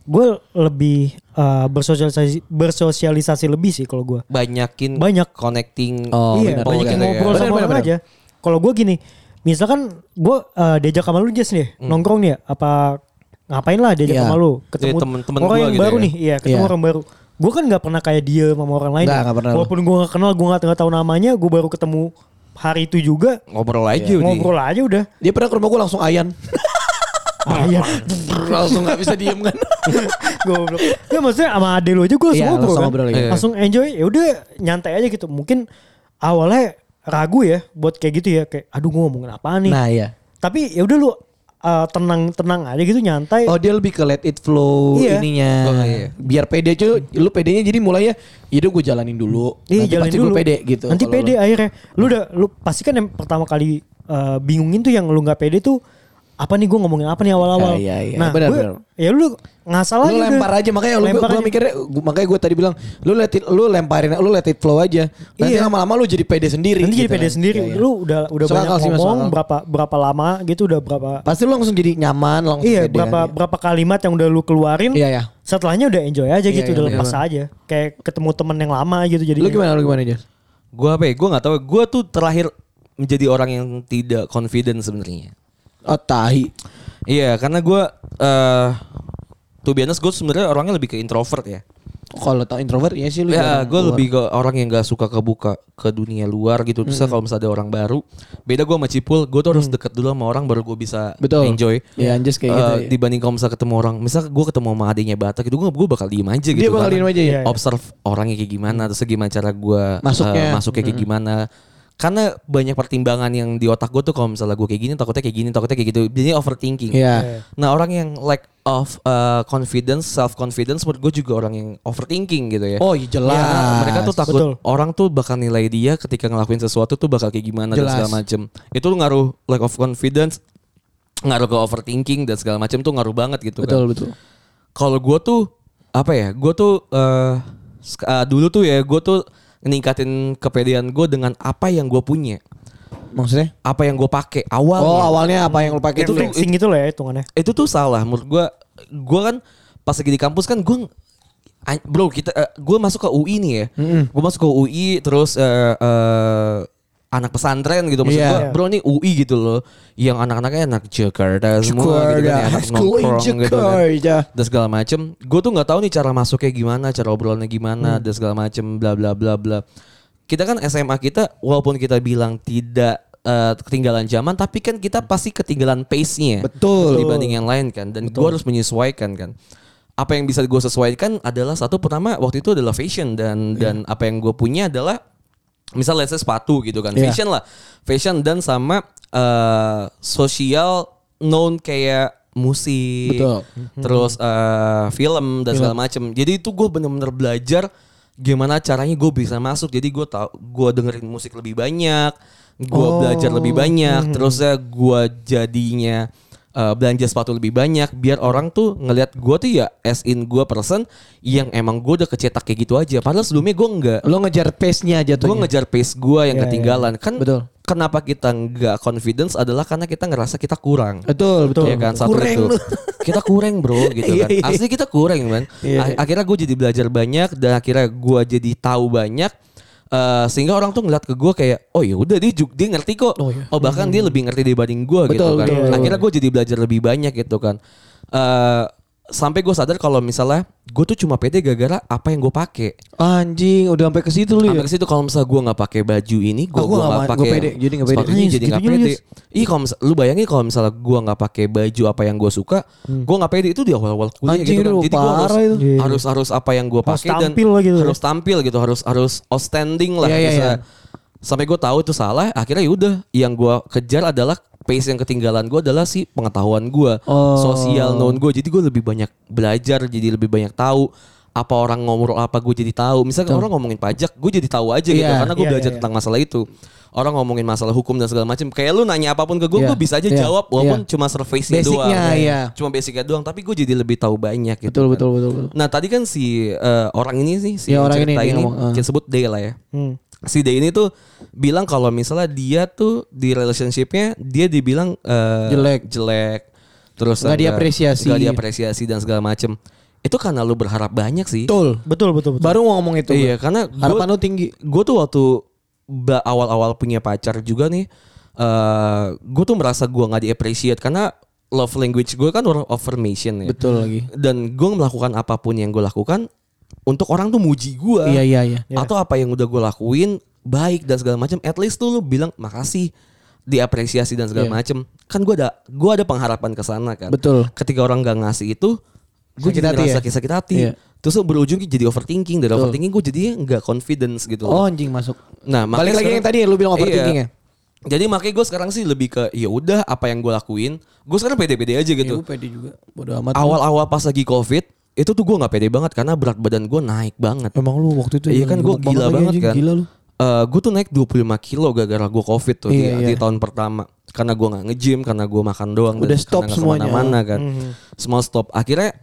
D: gua lebih eh, bersosialisasi bersosialisasi lebih sih kalau gua.
B: Banyakin
D: Banyak.
B: connecting.
C: Oh,
D: iya,
C: benar.
D: banyak
B: gitu
D: yang
B: ya.
D: ngobrol
C: Benar,
D: sama
C: benar,
D: orang
C: benar.
D: aja. Kalau gue gini, misalkan gue diajak sama lu Jess nih, nongkrong nih, ya, apa ngapain lah
C: Hmm.
D: diajak
C: Iya.
D: sama lu,
B: Iya,
D: ketemu
B: temen-temen
D: orang
B: gua
D: yang
B: gitu
D: baru
B: ya.
D: nih, iya ketemu
C: Iya.
D: orang baru. Gue kan nggak pernah kayak dia sama orang lain.
C: Nggak,
D: ya.
C: nggak pernah lu.
D: Walaupun gue nggak kenal, gue nggak nggak tahu namanya, gue baru ketemu hari itu juga
B: Ngobrol
C: Iya,
B: aja udah.
D: ngobrol aja udah.
C: Dia pernah ke rumah gue langsung ayan.
D: Ah, iya.
C: Brrr, langsung gak bisa diem kan.
D: Goblok. Ya maksudnya sama ade lu aja gue langsung
C: Iya,
D: ngobrol
C: langsung
D: kan.
C: ngobrol, iya.
D: Langsung enjoy. Ya udah nyantai aja gitu. Mungkin awalnya ragu ya buat kayak gitu ya kayak aduh gue ngomongin apaan nih.
C: nah iya.
D: Tapi ya udah lu uh, tenang-tenang aja gitu nyantai.
C: Oh dia lebih ke let it flow
D: Iya.
C: ininya.
B: Oh, iya.
C: Biar pede aja. Lu pedenya jadi ya, mulainya. Yaudah gue jalanin dulu.
D: Iya,
C: Nanti
D: jalanin
C: pasti
D: dulu.
C: gue pede gitu.
D: Nanti
C: kalau
D: pede
C: lu-
D: akhirnya. Lu udah lu pasti kan yang pertama kali uh, bingungin tuh yang lu nggak pede tuh apa nih gue ngomongin apa nih
C: Iya,
D: awal-awal.
C: iya, iya.
D: Nah,
C: Benar,
D: gua-
C: benar.
D: ya lu ngasal aja.
C: Lu
D: udah.
C: lempar aja makanya lu
D: Lempar
C: gua
D: aja.
C: mikirnya gua- makanya gue tadi bilang lu let it, lu lemparin lu let it flow aja. Nanti
D: Iya.
C: lama-lama lu jadi pede sendiri.
D: Nanti jadi
C: gitu
D: pede
C: kan.
D: sendiri.
C: Iya, iya.
D: Lu udah udah
C: Masuk akal sih,
D: banyak
C: masuk
D: ngomong
C: akal.
D: berapa berapa lama gitu udah berapa
C: Pasti lu langsung jadi nyaman langsung.
D: Iya,
C: pede
D: berapa
C: kan.
D: berapa kalimat yang udah lu keluarin.
C: Iya, iya.
D: Setelahnya udah enjoy aja
C: Iya,
D: gitu,
C: iya,
D: udah
C: benar.
D: lepas aja. Kayak ketemu temen yang lama gitu jadi.
C: Lu gimana lu gimana aja?
B: Gue apa ya? Gue nggak tahu. Gue tuh terakhir menjadi orang yang tidak confident sebenarnya.
C: Oh tahi.
B: Iya, karena eh, gue tuh biasa gue sebenarnya orangnya lebih ke introvert ya.
C: Kalau tau introvert ya sih lu.
B: Ya,
C: jarang
B: gue
C: keluar.
B: lebih ke orang yang gak suka kebuka ke dunia luar gitu. Bisa
C: Hmm.
B: kalau misalnya ada orang baru, beda gue sama Cipul, gue tuh harus deket dulu sama orang baru gue bisa
C: Betul.
B: enjoy.
C: Iya, Anjas kayak
B: Eh,
C: gitu, iya.
B: Dibanding kalau misalnya ketemu orang, misal gue ketemu sama adiknya Batak gitu, gue gue bakal diem aja gitu.
C: Dia bakal
B: karena
C: diem aja, iya, iya.
B: Observe orangnya kayak gimana, terus gimana cara gue
C: Masuknya. Hmm.
B: masuknya kayak gimana. Karena banyak pertimbangan yang di otak gue tuh kalau misalnya gue kayak gini, takutnya kayak gini, takutnya kayak gitu. Jadi overthinking.
C: Iya.
B: Nah orang yang lack of uh, confidence, self confidence, menurut gue juga orang yang overthinking gitu ya.
C: Oh, iya, jelas.
B: Iya, mereka tuh takut
D: Betul.
B: orang tuh bakal nilai dia ketika ngelakuin sesuatu tuh bakal kayak gimana dan
C: Jelas.
B: segala macem. Itu ngaruh lack of confidence, ngaruh ke overthinking dan segala macem tuh ngaruh banget gitu
C: Betul
B: kan.
C: betul.
B: Kalau gue tuh apa ya? Gue tuh eh, sek- eh, dulu tuh ya gue tuh ningkatin kepedean gue dengan apa yang gue punya,
C: Maksudnya?
B: apa yang gue pakai awalnya.
C: Oh awalnya apa yang lu pakai
D: itu
C: tuh?
D: flexing gitu lah ya hitungannya.
B: itu tuh salah menurut gua gua kan pas lagi di kampus kan gua an- bro kita eh, gua masuk ke UI nih ya gua masuk ke UI terus eh, eh, anak pesantren gitu maksud
C: Iya.
B: gua bro nih UI gitu loh yang anak-anaknya anak Jakarta semua gitu kan ya, anak
C: School in
B: nongkrong gitu kan
C: Jakarta.
B: dan segala macem gue tuh nggak tahu nih cara masuknya gimana cara obrolannya gimana
C: Hmm.
B: dan segala macem bla bla bla bla kita kan SMA kita walaupun kita bilang tidak eh, ketinggalan zaman tapi kan kita pasti ketinggalan pace-nya
C: Betul.
B: dibanding yang lain kan dan gue harus menyesuaikan kan apa yang bisa gue sesuaikan adalah satu pertama waktu itu adalah fashion
C: Iya.
B: dan dan apa yang gue punya adalah misal let's say sepatu gitu kan
C: Iya.
B: fashion lah fashion dan sama eh, sosial known kayak musik
C: Betul.
B: Mm-hmm. terus eh, film dan segala macem jadi itu gue bener-bener belajar gimana caranya gue bisa masuk jadi gue tau gue dengerin musik lebih banyak gue
D: Oh,
B: belajar lebih
D: mm-hmm.
B: banyak terus ya gue jadinya eh, belanja sepatu lebih banyak biar orang tuh ngelihat gue tuh ya as in gue person yang emang gue udah kecetak kayak gitu aja padahal sebelumnya gue enggak
C: Lo ngejar pace-nya aja tuh. ya.
B: gue ngejar pace gue yang
D: Iya,
B: ketinggalan kan
C: Betul.
B: kenapa kita nggak confidence adalah karena kita ngerasa kita kurang
C: Betul, Iya betul.
B: ya kan satu
C: Kurang
B: itu
C: lu.
B: kita kurang bro gitu kan
C: Iya, iya.
B: asli kita kurang kan
C: Iya.
B: akhirnya gue jadi belajar banyak dan akhirnya gue jadi tahu banyak Eh, sehingga orang tuh ngeliat ke gue kayak oh ya udah dia juga dia ngerti kok oh, bahkan dia lebih ngerti dibanding gue gitu
C: iya. Hmm. Betul,
B: kan
C: betul, betul.
B: akhirnya gue jadi belajar lebih banyak gitu kan Eh, sampai gue sadar kalau misalnya gue tuh cuma pede gara-gara apa yang gue pakai
C: Anjing, udah sampai ke situ lu ya.
B: Sampai ke situ kalau misalnya gue nggak pakai baju ini, gue gua
C: Ah, gua
B: nggak
C: nggak-
B: pakai
C: nggak pede, jadi nggak pede.
B: sepatunya
D: Anjing,
B: jadi nggak
D: segitunya,
B: pede. Ih, kalau misal- lu bayangin kalau misalnya gue nggak pakai baju apa yang gue suka, gue nggak pede itu di awal-awal kuliah
C: Hmm. Anjing,
B: gitu kan.
C: itu
B: Jadi gue harus,
C: parah itu.
B: harus harus apa yang gue
D: Harus
B: pakai dan
D: tampil lah gitu.
B: harus tampil gitu, harus harus outstanding lah.
C: ya. Iya, iya,
B: bisa.
C: iya.
B: Sampai gue tahu itu salah, akhirnya yaudah yang gue kejar adalah pace yang ketinggalan gue adalah si pengetahuan gue,
C: Oh.
B: sosial known gue. Jadi gue lebih banyak belajar, jadi lebih banyak tahu apa orang ngomong apa gue jadi tahu. Misalnya orang ngomongin pajak, gue jadi tahu aja gitu
C: Iya,
B: karena gue
D: iya,
B: belajar
D: iya,
B: tentang masalah itu. Orang ngomongin masalah hukum dan segala macam. Kayak lu nanya apapun ke gue,
C: Iya,
B: gue bisa aja
C: iya,
B: jawab walaupun
C: iya.
B: cuma surface-nya doang.
C: Basicnya, iya.
B: Cuma basicnya doang, tapi gue jadi lebih tahu banyak gitu.
C: betul,
B: kan.
C: betul betul betul.
B: Nah, tadi kan si eh, orang ini sih si
C: Iya, orang
B: cerita
C: ini, dia
B: ini,
C: ngomong, ah.
B: kita sebut Day lah ya.
D: Hmm.
B: Si Day ini tuh bilang kalau misalnya dia tuh di relationshipnya dia dibilang eh,
C: Jelek.
B: jelek, terus
C: Nggak
B: ada-
C: diapresiasi.
B: nggak diapresiasi dan segala macem. Itu karena lu berharap banyak sih.
C: Betul.
D: Betul betul betul.
C: Baru mau ngomong itu.
B: Iya,
C: bro.
B: karena
C: harapan
B: gua,
C: lu tinggi.
B: gue tuh waktu ba- awal-awal punya pacar juga nih, eh gue tuh merasa gue nggak diapresiasi karena love language gue kan word of affirmation ya
C: Betul lagi.
B: dan gue melakukan apapun yang gue lakukan untuk orang tuh muji gue
C: Iya iya iya.
B: atau apa yang udah gue lakuin baik dan segala macam at least tuh lu bilang makasih diapresiasi dan segala
C: Iya.
B: macam kan gue ada gue ada pengharapan ke sana kan
C: Betul.
B: ketika orang gak ngasih itu gue
C: Sakit
B: jadi
C: hati
B: ngerasa
C: ya?
B: sakit hati
C: Iya.
B: terus berujung jadi overthinking dari overthinking gue jadi nggak confidence gitu loh.
C: Oh anjing masuk.
B: Nah, makanya
C: balik lagi
B: sekarang-
C: yang tadi lu bilang
B: Iya.
C: overthinking ya.
B: jadi makanya gue sekarang sih lebih ke ya udah apa yang gue lakuin gue sekarang pede-pede aja
C: Ya,
B: gitu
C: gua pede juga. Bodoh amat.
B: awal-awal pas lagi covid itu tuh gue nggak pede banget karena berat badan gue naik banget
C: Emang lu waktu itu
B: Iya kan gue
C: gemuk
B: gila
C: lagi,
B: banget
C: anjing.
B: kan.
C: Gila lu.
B: gue tuh naik 25 kilo gara-gara gue covid tuh di-
C: Iya,
B: di,
C: iya.
B: tahun pertama. Karena gue nggak nge-gym, karena gue makan doang. karena
C: Udah stop
B: nggak
C: semuanya. Mm-hmm.
B: kemana-mana kan. Semua stop. Akhirnya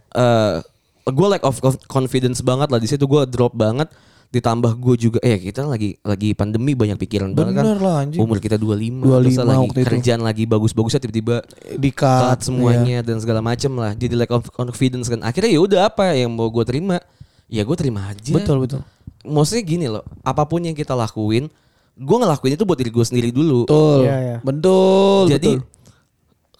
B: gue lack of conf- confidence banget lah. Di situ gue drop banget. Ditambah gue juga, eh kita lagi lagi pandemi banyak pikiran banget kan.
C: Bener lah, anjing.
B: Umur kita 25.
C: 25
B: lagi
C: waktu itu.
B: kerjaan lagi bagus-bagusnya tiba-tiba
C: Dikat
B: telat semuanya dan segala macem lah. Jadi lack of confidence kan. Akhirnya ya udah apa yang mau gue terima. Ya gue terima aja
C: Betul betul.
B: maksudnya gini loh, apapun yang kita lakuin, gue ngelakuin itu buat diri gue sendiri dulu.
C: Betul.
D: Iya, iya.
C: Betul.
B: Jadi
C: betul.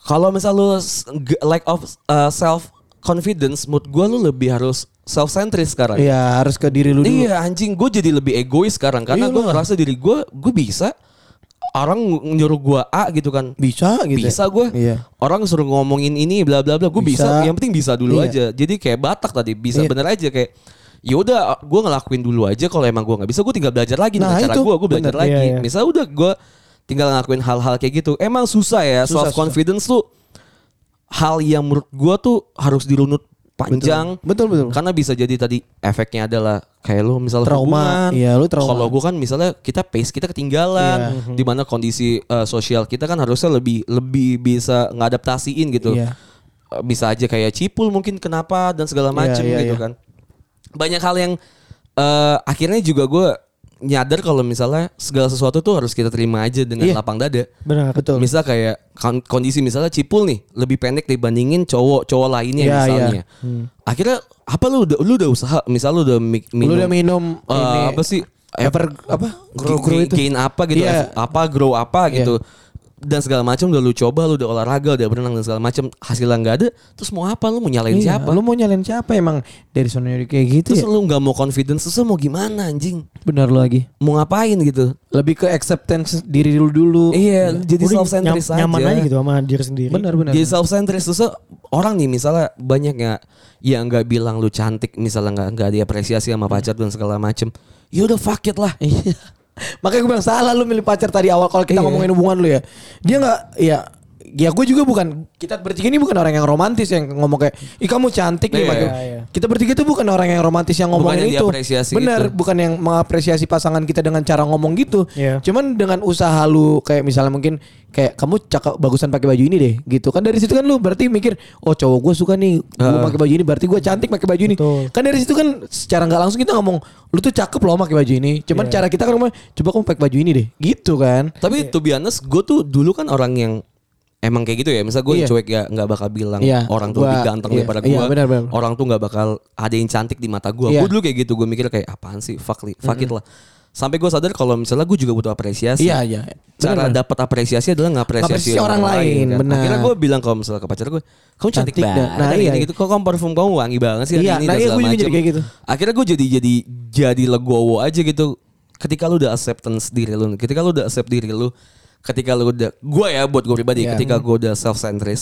B: kalau misal lu s- g- lack of uh, self confidence, mood gue lu lebih harus self centric sekarang.
C: Iya harus ke diri lu dulu. Iya,
B: Iya anjing gue jadi lebih egois sekarang karena gue ngerasa diri gue gue bisa orang ng- nyuruh gue A gitu kan
C: Bisa gitu. ya.
B: bisa gue
C: Iya.
B: orang suruh ngomongin ini bla bla bla gue bisa.
C: Bisa.
B: yang penting bisa dulu
C: Iya.
B: aja jadi kayak batak tadi bisa
C: Iya.
B: bener aja kayak ya udah gue ngelakuin dulu aja kalau emang gue nggak bisa gue tinggal belajar lagi
C: Nah,
B: nah, cara
C: itu.
B: gue gue belajar
D: Bener.
B: lagi
D: Iya, iya.
B: misal udah gue tinggal ngelakuin hal-hal kayak gitu emang susah ya self
C: Susah,
B: confidence tuh hal yang menurut gue tuh harus dirunut panjang
C: Betul betul.
B: karena bisa jadi tadi efeknya adalah kayak lo misalnya
C: Trauma.
B: hubungan.
C: Iya, lu trauma. Iya.
B: Kalau gue kan misalnya kita pace kita ketinggalan,
C: Mhm.
B: di mana kondisi eh, sosial kita kan harusnya lebih lebih bisa ngadaptasiin gitu.
C: Iya.
B: Eh, bisa aja kayak cipul mungkin kenapa dan segala macem
C: Iya, iya,
B: gitu
C: iya.
B: kan. Banyak hal yang eh, akhirnya juga gue nyadar kalau misalnya segala sesuatu tuh harus kita terima aja dengan
C: Iya.
B: lapang dada.
D: Benar.
C: Betul.
B: Misal kayak kon- kondisi misalnya Cipul nih lebih pendek dibandingin cowok-cowok lainnya
C: Iya,
B: misalnya. Akhirnya apa lu udah lu udah usaha misal lu udah mi- minum
C: Lu udah minum
B: eh,
C: ini,
B: apa sih
C: ever apa
B: Gain-
C: grow grow
B: gain-
C: itu.
B: gain apa gitu
C: Iya.
B: eff- apa grow apa gitu dan segala macam udah lu coba lu udah olahraga udah berenang dan segala macam hasilnya nggak ada terus mau apa lu mau nyalain
C: Iya,
B: siapa
C: Lu mau nyalain siapa emang dari sononya kayak gitu
B: terus
C: ya?
B: lu nggak mau confidence terus lu mau gimana anjing
C: Benar lu lagi.
B: mau ngapain gitu
C: Lebih ke acceptance diri lu dulu.
B: iya jadi
D: Udah
B: self centered
D: nyam- nyaman aja gitu sama diri sendiri.
C: Benar benar.
B: Jadi self centered terus orang nih misalnya banyak ya yang nggak bilang lu cantik misalnya nggak nggak diapresiasi sama pacar dan segala macem. Ya udah fuck it lah.
C: Iya. Makanya gue bilang salah lu milih pacar tadi awal kalau
B: Iya.
C: kita ngomongin hubungan lu ya. Dia nggak ya Ya gue juga bukan kita bertiga ini bukan orang yang romantis yang ngomong kayak ih kamu cantik nih
B: Iya.
C: pakai-"
D: Iya, iya.
C: kita bertiga tuh bukan orang yang romantis yang
B: Bukan yang
C: ngomongin itu
B: diapresiasi
C: benar
B: gitu.
C: bukan yang mengapresiasi pasangan kita dengan cara ngomong gitu
D: Iya.
C: cuman dengan usaha lu kayak misalnya mungkin kayak kamu cakep bagusan pakai baju ini deh gitu kan dari situ kan lu berarti mikir oh cowok gue suka nih gue pakai baju ini berarti gue cantik pakai baju ini
D: Betul.
C: kan dari situ kan secara nggak langsung kita ngomong lu tuh cakep loh pakai baju ini cuman
B: Iya.
C: cara kita kan ngomong coba kamu pakai baju ini deh gitu kan
B: Tapi to be honest, gue tuh dulu kan orang yang emang kayak gitu ya. Misal gue
C: Iya.
B: cuek ya nggak bakal bilang
C: Iya,
B: orang tuh lebih
C: gua-
B: ganteng
C: iya,
B: daripada gue.
C: iya, benar, benar.
B: Orang tuh nggak bakal ada yang cantik di mata gue.
C: Iya.
B: Gue dulu kayak gitu. Gue mikir kayak apaan sih? Fuck, li- fuck it lah. Sampai gue sadar kalau misalnya gue juga butuh apresiasi.
C: iya iya
B: cara dapat apresiasi adalah ngapresiasi kan.
C: Ngapresiasi orang lain, benar.
B: Akhirnya gue bilang kalau misalnya ke pacar gue, kamu cantik,
C: Cantik dah.
B: banget.
C: Nah,
B: hari
C: iya.
B: ini gitu, kok kamu parfum kamu wangi banget sih hari
C: Iya,
B: ini
C: nah,
B: dan
C: iya,
B: segala
C: gue juga
B: macam.
C: jadi kayak gitu.
B: Akhirnya gue jadi jadi jadi legowo aja gitu. Ketika lu udah acceptance diri lu, ketika lu udah accept diri lu, ketika lu udah gue ya buat gue pribadi,
C: Iya.
B: ketika gue udah self centric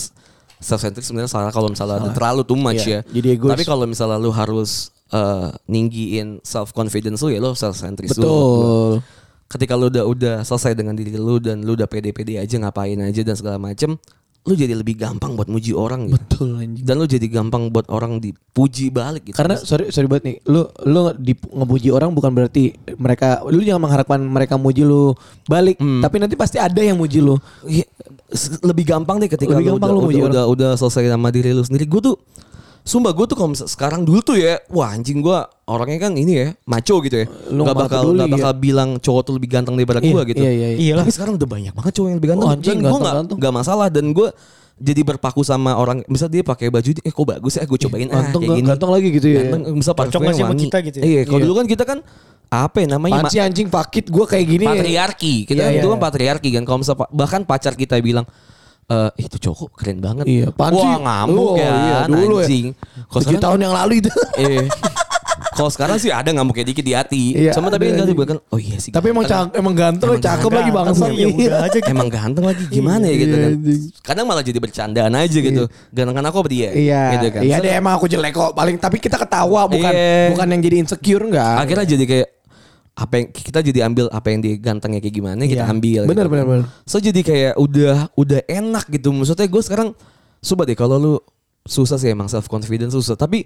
B: self centric sebenarnya salah kalau misalnya ada terlalu too much
C: Iya,
B: ya.
C: jadi egois.
B: Tapi kalau misalnya lu harus eh, ninggiin self confidence lu ya lu self centric
C: betul
B: ketika lu udah udah selesai dengan diri lu dan lu udah pede-pede aja ngapain aja dan segala macem lu jadi lebih gampang buat muji orang gitu.
C: Betul anjing.
B: Dan lu jadi gampang buat orang dipuji balik gitu.
C: Karena sorry sorry banget nih, lu lu di, ngepuji orang bukan berarti mereka lu jangan mengharapkan mereka muji lu balik,
B: Hmm.
C: tapi nanti pasti ada yang muji lu.
B: Iya, s- lebih gampang deh ketika lu
C: Lebih gampang
B: udah,
C: lu
B: udah,
C: muji orang.
B: udah, udah selesai sama diri lu sendiri. Gue tuh Sumpah gue tuh kalau mis- sekarang dulu tuh ya Wah anjing gue orangnya kan ini ya Maco gitu ya
C: Lu
B: Gak
C: nggak
B: bakal,
C: peduli,
B: nggak bakal bilang cowok tuh lebih ganteng daripada gue gitu
C: Iya iya. iya.
D: Iyalah.
B: Tapi sekarang udah banyak banget cowok yang lebih ganteng.
C: Oh, anjing,
B: dan gue nggak
C: ganteng-ganteng.
B: nggak masalah dan gue jadi berpaku sama orang. Misal dia pakai baju, eh kok bagus ya, gue cobain ah,
C: Iya, ganteng
B: kayak
C: nggak-
B: gini.
C: ganteng lagi gitu ya.
B: Ganteng, misal
D: Cocok
B: parfumnya
D: nggak sih sama
B: wangi.
D: kita gitu ya?
B: Iya, kalau
C: Iya.
B: dulu kan kita kan apa ya namanya?
C: Apaan
B: ma-
C: sih anjing pakit gua kayak gini.
B: patriarki. Kita
C: Iya,
B: kan
C: iya,
B: dulu kan
C: iya.
B: patriarki kan. Kalau misal pa- bahkan pacar kita bilang eh itu cowok keren banget.
C: Iya, apaan
B: Wah
C: sih?
B: ngamuk
C: Oh,
B: kan
C: iya, dulu ya.
B: anjing. Kalau
C: Tujuh
B: sekarang-
C: tahun yang lalu itu.
B: eh, Kalau sekarang sih ada ngamuknya dikit di hati.
C: Iya,
B: Sama tapi
C: ada,
B: enggak
C: anjing.
B: bukan. Oh iya sih.
C: Tapi emang
B: ganteng.
C: cak emang ganteng,
B: Emang
C: cakep lagi
D: ganteng,
C: bangsa.
D: ya udah aja gitu.
B: Emang ganteng lagi gimana ya gitu
C: Iya,
B: kan.
C: anjing.
B: Kadang malah jadi bercandaan aja gitu. Ganteng kan aku apa dia?
C: Iya,
B: Gitu kan.
C: iya
B: Set,
C: deh emang aku jelek kok. Paling tapi kita ketawa bukan
B: Iya.
C: bukan yang jadi insecure enggak.
B: Akhirnya jadi kayak apa yang kita jadi ambil apa yang dia gantengnya kayak gimana kita
C: Iya.
B: ambil.
C: Bener
B: gitu.
C: bener bener.
B: So jadi kayak udah udah enak gitu. Maksudnya gue sekarang coba deh kalau lu susah sih emang self confidence susah. Tapi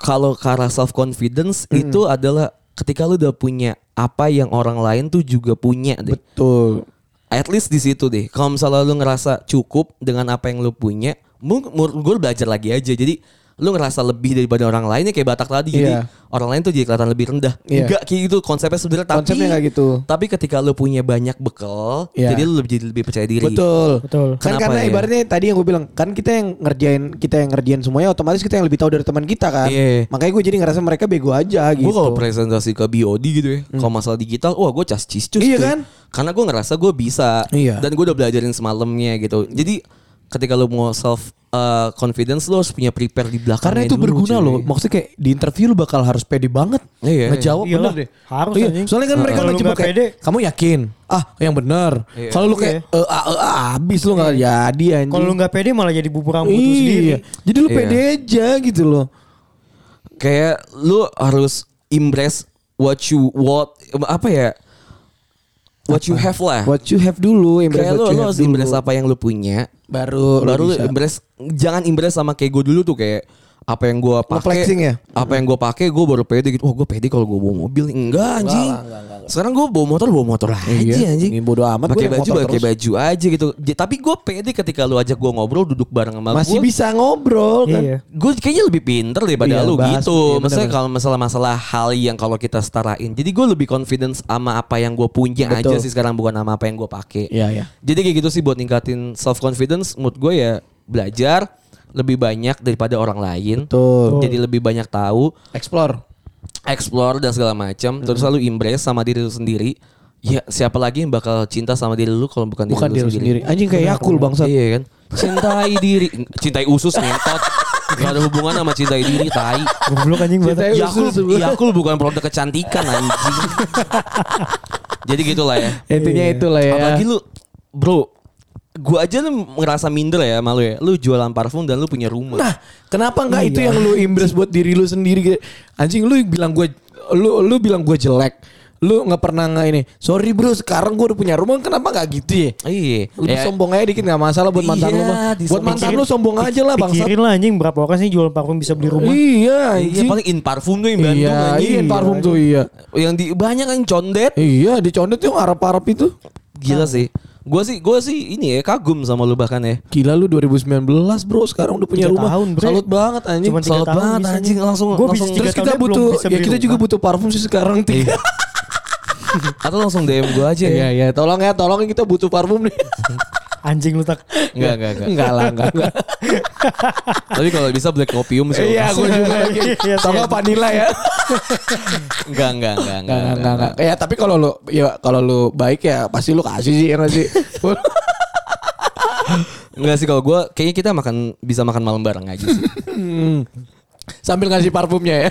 B: kalau ke arah self confidence
C: Hmm.
B: itu adalah ketika lu udah punya apa yang orang lain tuh juga punya deh.
C: Betul.
B: At least di situ deh. Kalau misalnya lu ngerasa cukup dengan apa yang lu punya, mung- menurut gue lu belajar lagi aja. Jadi lu ngerasa lebih daripada orang lainnya kayak Batak tadi. Jadi
C: Iya.
B: orang lain tuh jadi kelihatan lebih rendah.
C: Iya.
B: Enggak kayak gitu konsepnya sebenarnya. Tapi,
C: Konsepnya nggak gitu.
B: Tapi ketika lu punya banyak bekal,
C: Iya.
B: jadi lu lebih jadi lebih percaya diri.
C: Betul.
D: Betul.
C: Kan
B: Kenapa
C: karena
B: ya?
C: ibaratnya tadi yang gue bilang, kan kita yang ngerjain kita yang ngerjain semuanya otomatis kita yang lebih tahu dari teman kita kan.
B: Iya.
C: Makanya gue jadi ngerasa mereka bego aja gitu. Hmm.
B: Gue kalau presentasi ke BOD gitu ya, kalau masalah digital, wah gue cas cis cus
C: Iya
B: cuy.
C: kan?
B: Karena gue ngerasa gue bisa
C: Iya.
B: dan gue udah belajarin semalamnya gitu. Jadi ketika lu mau self uh, confidence lu harus punya prepare di belakang.
C: karena itu berguna loh. Maksudnya kayak di interview lu bakal harus pede banget.
B: Iya, iya.
C: Ngejawab
D: Iyalah,
C: bener deh.
D: harus
C: Iya,
D: anjing.
C: Soalnya kan
D: Heeh.
C: mereka
D: Kalau lu
C: ngejebak
D: nggak
C: kayak,
D: pede. Iya.
C: kamu yakin? Ah, yang bener.
B: Iya.
C: Kalau lu kayak, eh, ah, eh, ah, abis lu nggak jadi anjing.
D: Kalau lu nggak pede malah jadi bubur rambut lu sendiri.
C: Iya. Jadi lu
B: Iya.
C: pede aja gitu loh.
B: kayak lu harus embrace what you what apa ya what you have lah
C: What you have dulu, embrace
B: Ah. kayak
C: what
B: lu
C: you
B: lu
C: have
B: harus
C: dulu.
B: embrace apa yang lu punya
C: Baru,
B: baru lu
C: bisa.
B: embrace jangan embrace sama kayak gue dulu tuh kayak apa yang gue pakai
C: flexing ya?
B: apa yang gue pakai gue baru pede gitu oh gue pede kalau gue bawa mobil enggak anjing sekarang gue bawa motor bawa motor aja
C: Iya,
B: anjing
C: ini bodo amat,
B: pakai
C: gua naik
B: baju
C: motor
B: pakai
C: terus.
B: baju aja gitu J- tapi gue pede ketika lu ajak gue ngobrol duduk bareng sama
C: Masih
B: gue
C: bisa ngobrol kan.
D: Iya.
B: gue kayaknya lebih pinter daripada
C: Iya,
B: lu gitu.
C: bahas- iya, bener-bener.
B: Maksudnya kalau masalah-masalah hal yang kalau kita setarain. Jadi gue lebih confidence sama apa yang gue punya aja
C: Betul.
B: sih sekarang bukan sama apa yang gue pakai.
C: Iya, iya.
B: Jadi kayak gitu sih buat ningkatin self confidence. Menurut gue ya belajar lebih banyak daripada orang lain.
C: Betul.
B: Jadi lebih banyak tahu,
C: Explore.
B: explore dan segala macam. Terus
C: Hmm.
B: selalu embrace sama diri lu sendiri. Ya siapa lagi yang bakal cinta sama diri lu kalau bukan, diri
C: Bukan diri
B: lu sendiri.
C: sendiri. Anjing kayak Yakul bangsa.
B: Iya kan? Cintai diri, cintai usus ngentot. Gak ada hubungan sama cintai diri, tai.
D: Goblok anjing banget.
C: Cintai
B: Yakul,
C: usus sebelah.
B: Yakul bukan produk kecantikan anjing. Jadi gitulah ya.
C: Intinya itulah ya.
B: Apalagi lu, bro, gua aja lu ngerasa minder ya malu ya. Lu jualan parfum dan lu punya rumah.
C: Nah, kenapa nggak itu yang lu impress buat diri lu sendiri? gitu? Anjing lu bilang gue, lu lu bilang gue jelek. Lu nggak pernah nggak ini. Sorry bro, sekarang gue udah punya rumah. Kenapa nggak gitu ya?
B: iya.
C: Lebih
B: Ya,
C: sombong aja dikit nggak masalah buat mantan
B: Iya,
C: lu. mah. Buat
B: disombongin.
C: mantan lu sombong aja lah bangsa.
D: Pikirin lah anjing berapa orang sih jual parfum bisa beli rumah.
C: Iya,
B: Iya
C: anjing.
B: paling in parfum tuh yang Bandung
C: Iya,
B: anjing.
C: iya, parfum tuh iya.
B: Yang di banyak yang condet.
C: Iya, dicondet tuh arab-arab itu.
B: Gila sih. Gua sih gua sih ini ya kagum sama lu bahkan ya.
C: Gila lu 2019 bro sekarang udah punya
D: Tiga
C: rumah.
D: tahun, Bre.
C: Salut banget anjing.
D: Cuman tiga
C: Salut
D: tahun
C: banget
D: bisanya.
C: anjing langsung
D: Gua
C: langsung.
D: bisnis tiga
C: Terus kita
D: tahunnya belum
C: butuh
D: bisa
C: ya
D: beli
C: kita juga
D: rumah.
C: butuh parfum sih sekarang tiga.
B: Atau langsung DM gua aja ya.
C: Iya iya tolong ya tolong kita butuh parfum nih.
D: Anjing lu tak.
B: Enggak, enggak, enggak.
C: enggak lah enggak enggak.
B: Tapi kalau bisa black opium sih.
C: Iya gue juga.
D: Iya,
C: Tolong
D: iya.
C: vanilla ya.
B: Enggak, enggak, enggak,
C: Enggak enggak enggak. enggak. Ya tapi kalau lu ya kalau lu baik ya pasti lu kasih sih ya nggak sih.
B: Enggak sih kalau gua kayaknya kita makan bisa makan malam bareng aja sih.
C: Sambil ngasih parfumnya ya.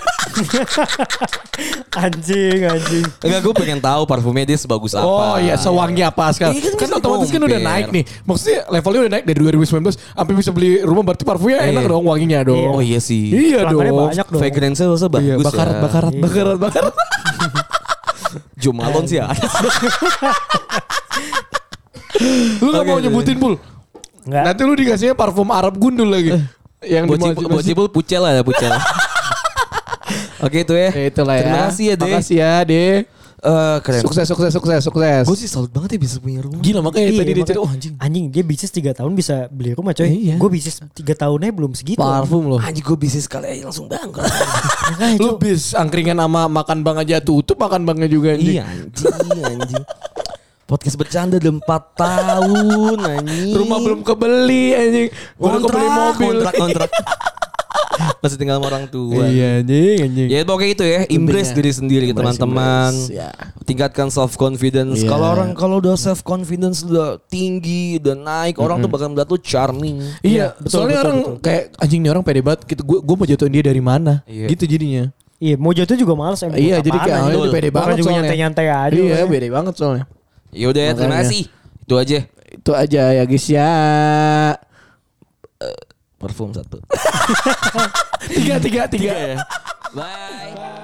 D: Anjing anjing.
B: Enggak, gua pengen tahu parfumnya dia sebagus apa.
C: Oh iya, sewangi apa sekarang?
B: Iya, kan
C: kan
B: bisa
C: otomatis kan udah
B: compare.
C: naik nih. Maksudnya levelnya udah naik dari 2019 sampai bisa beli rumah berarti parfumnya enak
B: Iya.
C: dong wanginya dong.
B: Oh iya sih.
C: Iya
D: Pelanggannya
C: dong.
D: banyak dong.
B: Fragrance-nya harusnya bagus
C: Iya,
B: ya.
C: bakarat, bakarat, bakarat, bakarat.
B: Jumalon sih ya. ada.
C: Lu gak
B: Oke,
C: mau
B: oke.
C: nyebutin pul?
D: Enggak.
C: Nanti lu dikasihnya parfum Arab gundul lagi. yang
B: Eh, buat
C: di
B: cipul, buat cipul pucel lah ada pucel. Oke itu ya.
C: Ya, itulah ya.
B: Terima kasih ya, Dek.
C: Makasih ya, Dek.
B: Eh, keren.
C: Sukses, sukses, sukses, sukses.
B: Gue sih salut banget ya bisa punya rumah.
C: Gila makanya tadi
D: Iya,
C: dia
D: makanya-
C: cerita, oh anjing.
D: Anjing dia bisnis 3 tahun bisa beli rumah coy.
C: Iya.
D: Gue bisnis 3 tahunnya belum segitu.
C: Parfum loh.
B: Anjing gue bisnis kali aja langsung bangga.
D: Makanya,
C: "Ah, Lu
D: Cok.
C: bis angkringan sama makan bang aja tutup makan bangnya juga anjing.
B: iya anjing, anjing. Podcast bercanda udah 4 tahun anjing.
C: Rumah belum kebeli anjing. Baru kebeli mobil.
B: kontrak, kontrak. Masih tinggal sama orang tua.
C: Iya anjing, anjing.
B: Ya pokoknya itu ya, embrace
C: Lebihnya.
B: diri sendiri gitu,
C: Embrace,
B: teman-teman.
C: embrace, ya.
B: Tingkatkan self confidence.
C: Iya.
B: Kalau orang kalau udah self confidence udah tinggi, udah naik, orang tuh bakal melihat tuh charming.
C: Iya,
D: betul,
C: soalnya
D: betul,
C: orang
D: betul.
C: kayak anjing nih orang pede banget. Gitu, gue gue mau jatuhin dia dari mana?
B: Iya.
C: Gitu jadinya.
D: Iya, mau jatuh juga males emang.
C: Iya, jadi
D: Apaan
C: kayak
D: anjing?
C: awalnya dia pede
D: Orang
C: banget
D: juga
C: soalnya.
D: nyantai-nyantai aja.
C: Iya,
D: orangnya.
C: pede banget soalnya.
B: Ya udah ya, terima
C: Makanya.
B: kasih. Itu aja.
C: Itu aja ya guys ya.
B: Parfum satu.
C: tiga, tiga, tiga.
B: Bye.